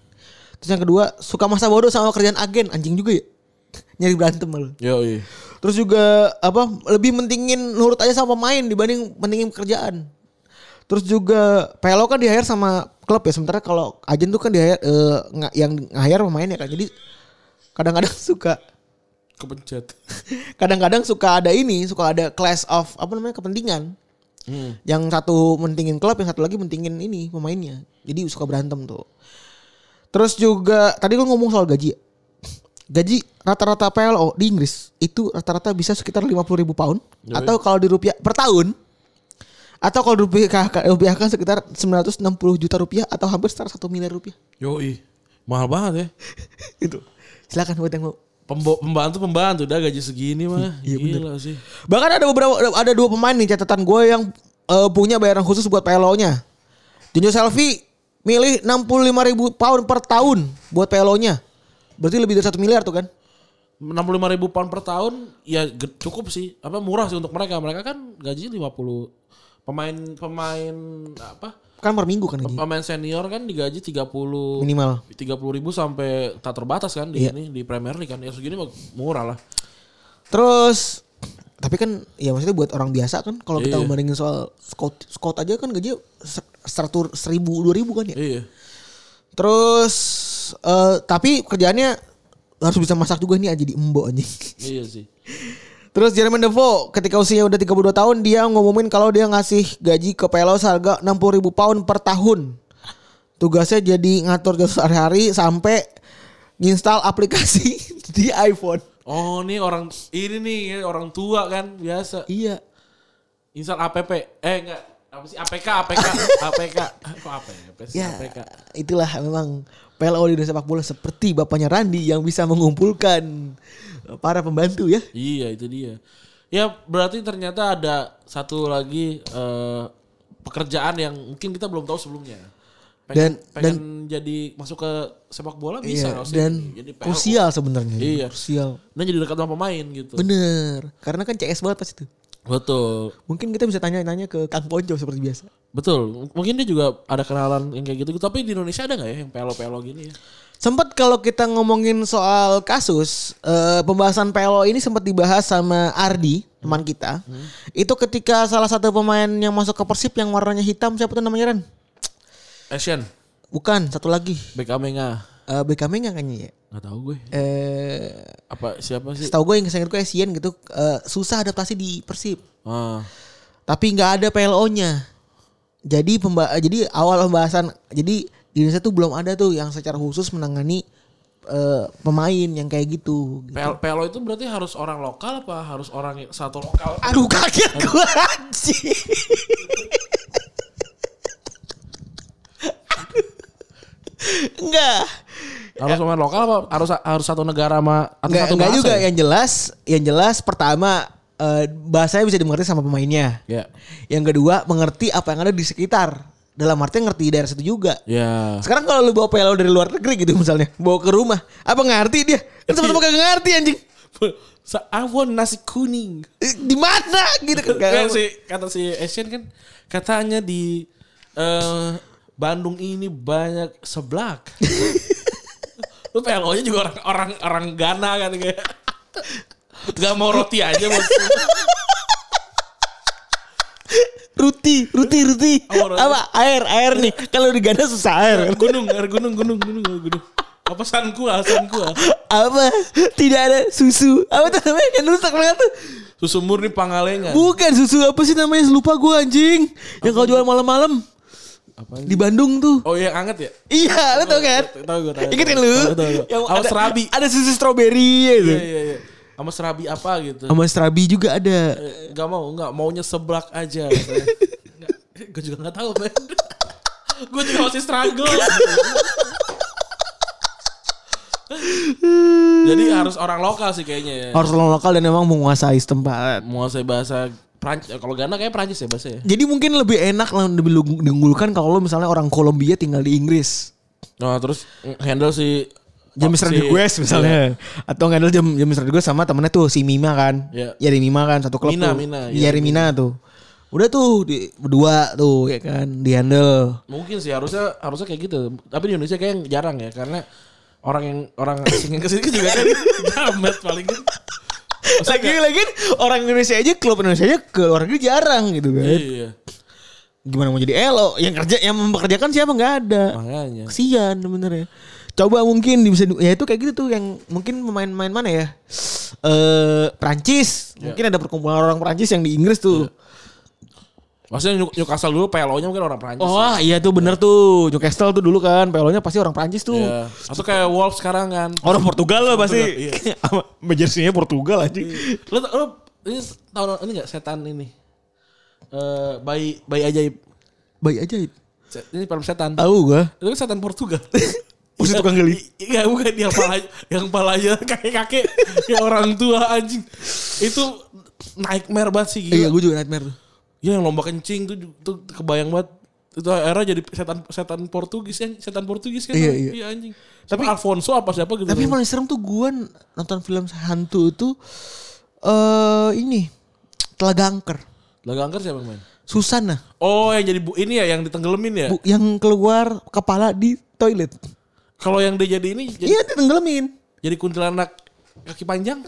Speaker 2: Terus yang kedua, suka masa bodoh sama kerjaan agen, anjing juga ya. Nyari berantem malah.
Speaker 3: Yo, iya.
Speaker 2: Terus juga apa lebih mentingin nurut aja sama pemain dibanding mentingin pekerjaan. Terus juga PLO kan di hire sama klub ya sementara kalau agen tuh kan di hire eh, nga- yang hire pemain ya kan. Jadi kadang-kadang suka
Speaker 3: Kepencet.
Speaker 2: kadang-kadang suka ada ini, suka ada clash of apa namanya kepentingan.
Speaker 3: Hmm.
Speaker 2: Yang satu mentingin klub, yang satu lagi mentingin ini pemainnya. Jadi suka berantem tuh. Terus juga tadi lu ngomong soal gaji. ya. Gaji rata-rata PLO di Inggris itu rata-rata bisa sekitar 50 ribu pound
Speaker 3: Yoi.
Speaker 2: atau kalau di rupiah per tahun atau kalau dirupiahkan, rupiahkan sekitar 960 juta rupiah atau hampir sekitar 1 miliar rupiah.
Speaker 3: Yo, iya. Mahal banget ya.
Speaker 2: itu. Silakan buat yang mau.
Speaker 3: Pembo- pembantu pembantu udah gaji segini mah. Gila sih.
Speaker 2: Bahkan ada beberapa ada dua pemain nih catatan gue yang eh, punya bayaran khusus buat PLO-nya. Junjo Selfie milih 65 ribu pound per tahun buat PLO-nya. Berarti lebih dari 1 miliar tuh kan?
Speaker 3: 65 ribu pound per tahun ya ge- cukup sih apa murah sih untuk mereka mereka kan gajinya 50 pemain pemain apa
Speaker 2: Kan per minggu kan gaji.
Speaker 3: pemain senior kan digaji 30
Speaker 2: Minimal.
Speaker 3: 30 ribu sampai tak terbatas kan
Speaker 2: Iya.
Speaker 3: di ini di Premier League kan ya segini mah murah lah
Speaker 2: Terus tapi kan ya maksudnya buat orang biasa kan kalau kita
Speaker 3: Iya.
Speaker 2: bandingin soal Scott Scott aja kan gaji seratus seribu dua ribu kan ya.
Speaker 3: iya
Speaker 2: Terus eh, tapi kerjaannya harus bisa masak juga nih jadi embo anjing.
Speaker 3: iya sih
Speaker 2: Terus Jeremy Defoe ketika usianya udah 32 tahun dia ngumumin kalau dia ngasih gaji ke PLO seharga 60 ribu pound per tahun. Tugasnya jadi ngatur jadwal sehari-hari sampai nginstal aplikasi di iPhone.
Speaker 3: oh nih orang ini nih ya, orang tua kan biasa
Speaker 2: Iya.
Speaker 3: install APP eh enggak apa sih APK APK APK kok APK sih
Speaker 2: Ya,
Speaker 3: APK
Speaker 2: itulah memang PLO di dunia sepak bola seperti bapaknya Randi yang bisa mengumpulkan para pembantu ya.
Speaker 3: Iya itu dia. Ya berarti ternyata ada satu lagi eh, pekerjaan yang mungkin kita belum tahu sebelumnya. Pengen,
Speaker 2: Dan-
Speaker 3: pengen jadi masuk ke sepak bola bisa
Speaker 2: Iya,
Speaker 3: nggak sih?
Speaker 2: dan
Speaker 3: jadi PLO.
Speaker 2: krusial sebenarnya.
Speaker 3: Iya.
Speaker 2: Krusial.
Speaker 3: Dan jadi dekat sama pemain gitu.
Speaker 2: Bener. Karena kan CS banget pas itu.
Speaker 3: Betul.
Speaker 2: Mungkin kita bisa tanya-tanya ke Kang Ponco seperti biasa.
Speaker 3: Betul. Mungkin dia juga ada kenalan yang kayak gitu. Tapi di Indonesia ada nggak ya yang PLO-PLO gini ya?
Speaker 2: Sempat kalau kita ngomongin soal kasus eh, pembahasan PLO ini sempat dibahas sama Ardi teman kita. Itu ketika salah satu pemain yang masuk ke Persib yang warnanya hitam siapa tuh namanya Ren?
Speaker 3: Asian.
Speaker 2: Bukan satu lagi
Speaker 3: BK Menga.
Speaker 2: Eh BKM nggak kayaknya ya.
Speaker 3: Nggak tahu gue.
Speaker 2: Eh,
Speaker 3: Apa siapa sih?
Speaker 2: setahu gue yang saya gue Asian gitu eh, susah adaptasi di Persib.
Speaker 3: Ah.
Speaker 2: Tapi nggak ada PLO-nya. Jadi pemba jadi awal pembahasan jadi di Indonesia tuh belum ada tuh yang secara khusus menangani eh, pemain yang kayak gitu.
Speaker 3: PL- PLO itu berarti harus orang lokal apa harus orang satu lokal?
Speaker 2: Aduh kaget gue anjing. Enggak.
Speaker 3: Harus pemain lokal apa harus harus satu negara sama atau
Speaker 2: Enggak,
Speaker 3: satu
Speaker 2: enggak
Speaker 3: bahasa
Speaker 2: juga
Speaker 3: ya?
Speaker 2: yang jelas, yang jelas pertama eh, bahasanya bisa dimengerti sama pemainnya.
Speaker 3: Ya.
Speaker 2: Yang kedua mengerti apa yang ada di sekitar. Dalam artinya ngerti daerah situ juga.
Speaker 3: Ya.
Speaker 2: Sekarang kalau lu bawa PLO dari luar negeri gitu misalnya, bawa ke rumah, apa ngerti dia? Kan sama-sama kagak ngerti anjing.
Speaker 3: Sa- I want nasi kuning.
Speaker 2: Eh, Di mana gitu kan?
Speaker 3: Kan si kata si Asian kan katanya di eh, Bandung ini banyak seblak. Lu PLO-nya juga orang orang orang Ghana kan kayak. Gak mau roti aja bos.
Speaker 2: Ruti, ruti, ruti.
Speaker 3: Apa, Ruti?
Speaker 2: Apa? Air, air nih. Kalau di Ghana susah air.
Speaker 3: gunung, air gunung, gunung, gunung, air gunung. Apa san gua, san gua.
Speaker 2: Apa? Tidak ada susu. Apa tuh namanya? Yang rusak banget tuh.
Speaker 3: Susu murni pangalengan.
Speaker 2: Bukan susu apa sih namanya? Lupa gue anjing. Yang kau jual malam-malam
Speaker 3: Apaan
Speaker 2: di Bandung tuh.
Speaker 3: Oh iya anget ya?
Speaker 2: Iya, lo tau kan?
Speaker 3: Tahu gua, tahu.
Speaker 2: Ingat kan lu?
Speaker 3: Tahu, tahu, tahu.
Speaker 2: Yang
Speaker 3: Sama
Speaker 2: ada
Speaker 3: serabi.
Speaker 2: Ada susu stroberi ya itu.
Speaker 3: Iya iya iya. Sama serabi apa gitu.
Speaker 2: Sama serabi juga ada.
Speaker 3: Gak mau, gak maunya seblak aja. katanya. Nggak, gue juga gak tahu, men. gue juga masih struggle. Jadi harus orang lokal sih kayaknya ya.
Speaker 2: Harus orang lokal dan emang menguasai setempat.
Speaker 3: Menguasai bahasa Prancis. Kalau Ghana kayak Prancis ya bahasa ya.
Speaker 2: Jadi mungkin lebih enak lah lebih lu- diunggulkan kalau lu misalnya orang Kolombia tinggal di Inggris.
Speaker 3: Nah terus handle si
Speaker 2: James
Speaker 3: si- Iya.
Speaker 2: Rodriguez misalnya atau nggak ada jam James Rodriguez sama temennya tuh si Mima kan
Speaker 3: Iya.
Speaker 2: Yari Mima kan satu klub
Speaker 3: Mina,
Speaker 2: tuh
Speaker 3: Mina,
Speaker 2: Yari,
Speaker 3: Yari
Speaker 2: Mina tuh udah tuh di, berdua tuh ya kan di handle
Speaker 3: Mungkin sih harusnya harusnya kayak gitu. Tapi di Indonesia kayak jarang ya karena orang yang orang asing yang kesini kan juga kan jamet paling kan.
Speaker 2: lagi lagi orang Indonesia aja klub Indonesia aja ke luar negeri jarang gitu kan
Speaker 3: Iya,
Speaker 2: gimana mau jadi elo yang kerja yang mempekerjakan siapa nggak ada
Speaker 3: makanya.
Speaker 2: kesian bener ya coba mungkin bisa di- ya itu kayak gitu tuh yang mungkin pemain-pemain mana ya eh Prancis
Speaker 3: Iya.
Speaker 2: mungkin ada perkumpulan orang Prancis yang di Inggris tuh
Speaker 3: Maksudnya New- Newcastle dulu PLO-nya mungkin orang Prancis.
Speaker 2: Oh iya tuh bener tuh Newcastle tuh dulu kan PLO-nya pasti orang Prancis tuh
Speaker 3: Iya. Atau kayak Wolves sekarang kan.
Speaker 2: Orang Portugal lah pasti Majersinya Portugal aja
Speaker 3: Lu, lu ini tahun ini enggak setan ini. Eh bayi bayi ajaib.
Speaker 2: Baik aja
Speaker 3: Se- Ini film setan.
Speaker 2: Tahu gua
Speaker 3: Itu kan setan Portugal.
Speaker 4: Mesti tukang gali.
Speaker 3: Iya bukan yang pala yang palanya kakek-kakek ya orang tua anjing. Itu nightmare banget sih
Speaker 2: Iya,
Speaker 3: gila.
Speaker 2: gue juga nightmare tuh.
Speaker 3: Ya yang lomba kencing tuh, tuh kebayang banget. Itu era jadi setan setan Portugis kan, setan Portugis kan.
Speaker 2: Iya, iya.
Speaker 3: anjing. Tapi Alfonso apa siapa gitu.
Speaker 2: Tapi yang paling serem tuh gue nonton film hantu itu eh ini Telaga Angker.
Speaker 3: lagu angker siapa yang main?
Speaker 2: Susana
Speaker 3: Oh, yang jadi bu ini ya yang ditenggelamin ya.
Speaker 2: bu, yang keluar kepala di toilet.
Speaker 3: Kalau yang dia jadi ini jadi,
Speaker 2: Iya, tenggelamin.
Speaker 3: jadi kuntilanak kaki panjang.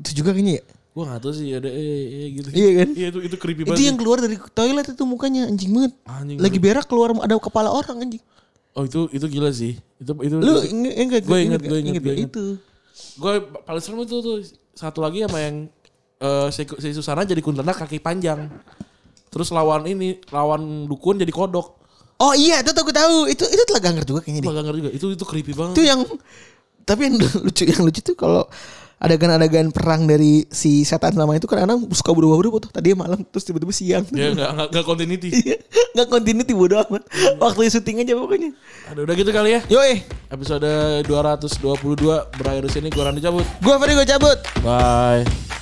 Speaker 2: Itu juga kayaknya ya.
Speaker 3: Gua gak tahu sih ada eh, eh, gitu.
Speaker 2: Iya kan?
Speaker 3: Iya itu itu creepy
Speaker 2: Itu
Speaker 3: banget.
Speaker 2: yang keluar dari toilet itu mukanya anjing banget.
Speaker 3: Anjing.
Speaker 2: Lagi berak keluar ada kepala orang anjing.
Speaker 3: Oh itu itu gila sih. Itu itu.
Speaker 2: Lu inget inget
Speaker 3: Gua inget,
Speaker 2: gak?
Speaker 3: gua inget, gua
Speaker 2: gak?
Speaker 3: inget.
Speaker 2: itu.
Speaker 3: gue paling serem itu tuh satu lagi sama yang eh si, si Susana jadi kuntilanak kaki panjang. Terus lawan ini lawan dukun jadi kodok.
Speaker 2: Oh iya, itu aku tahu. Itu itu Telaga Angker juga kayaknya deh.
Speaker 3: Gua gak ngerti juga. Itu itu creepy banget.
Speaker 2: Itu yang tapi yang lucu yang lucu tuh kalau adegan-adegan perang dari si setan lama itu kan kadang-kadang suka berubah-ubah tuh. Tadi malam terus tiba-tiba siang.
Speaker 3: Ya gak, gak, gak continuity.
Speaker 2: Iya, nggak continuity bodo amat. Waktu syuting aja pokoknya.
Speaker 3: Aduh, udah gitu kali ya.
Speaker 2: Yoi,
Speaker 3: Episode 222 berakhir di sini. Gue Randy cabut.
Speaker 2: gue Ferry gue cabut.
Speaker 3: Bye.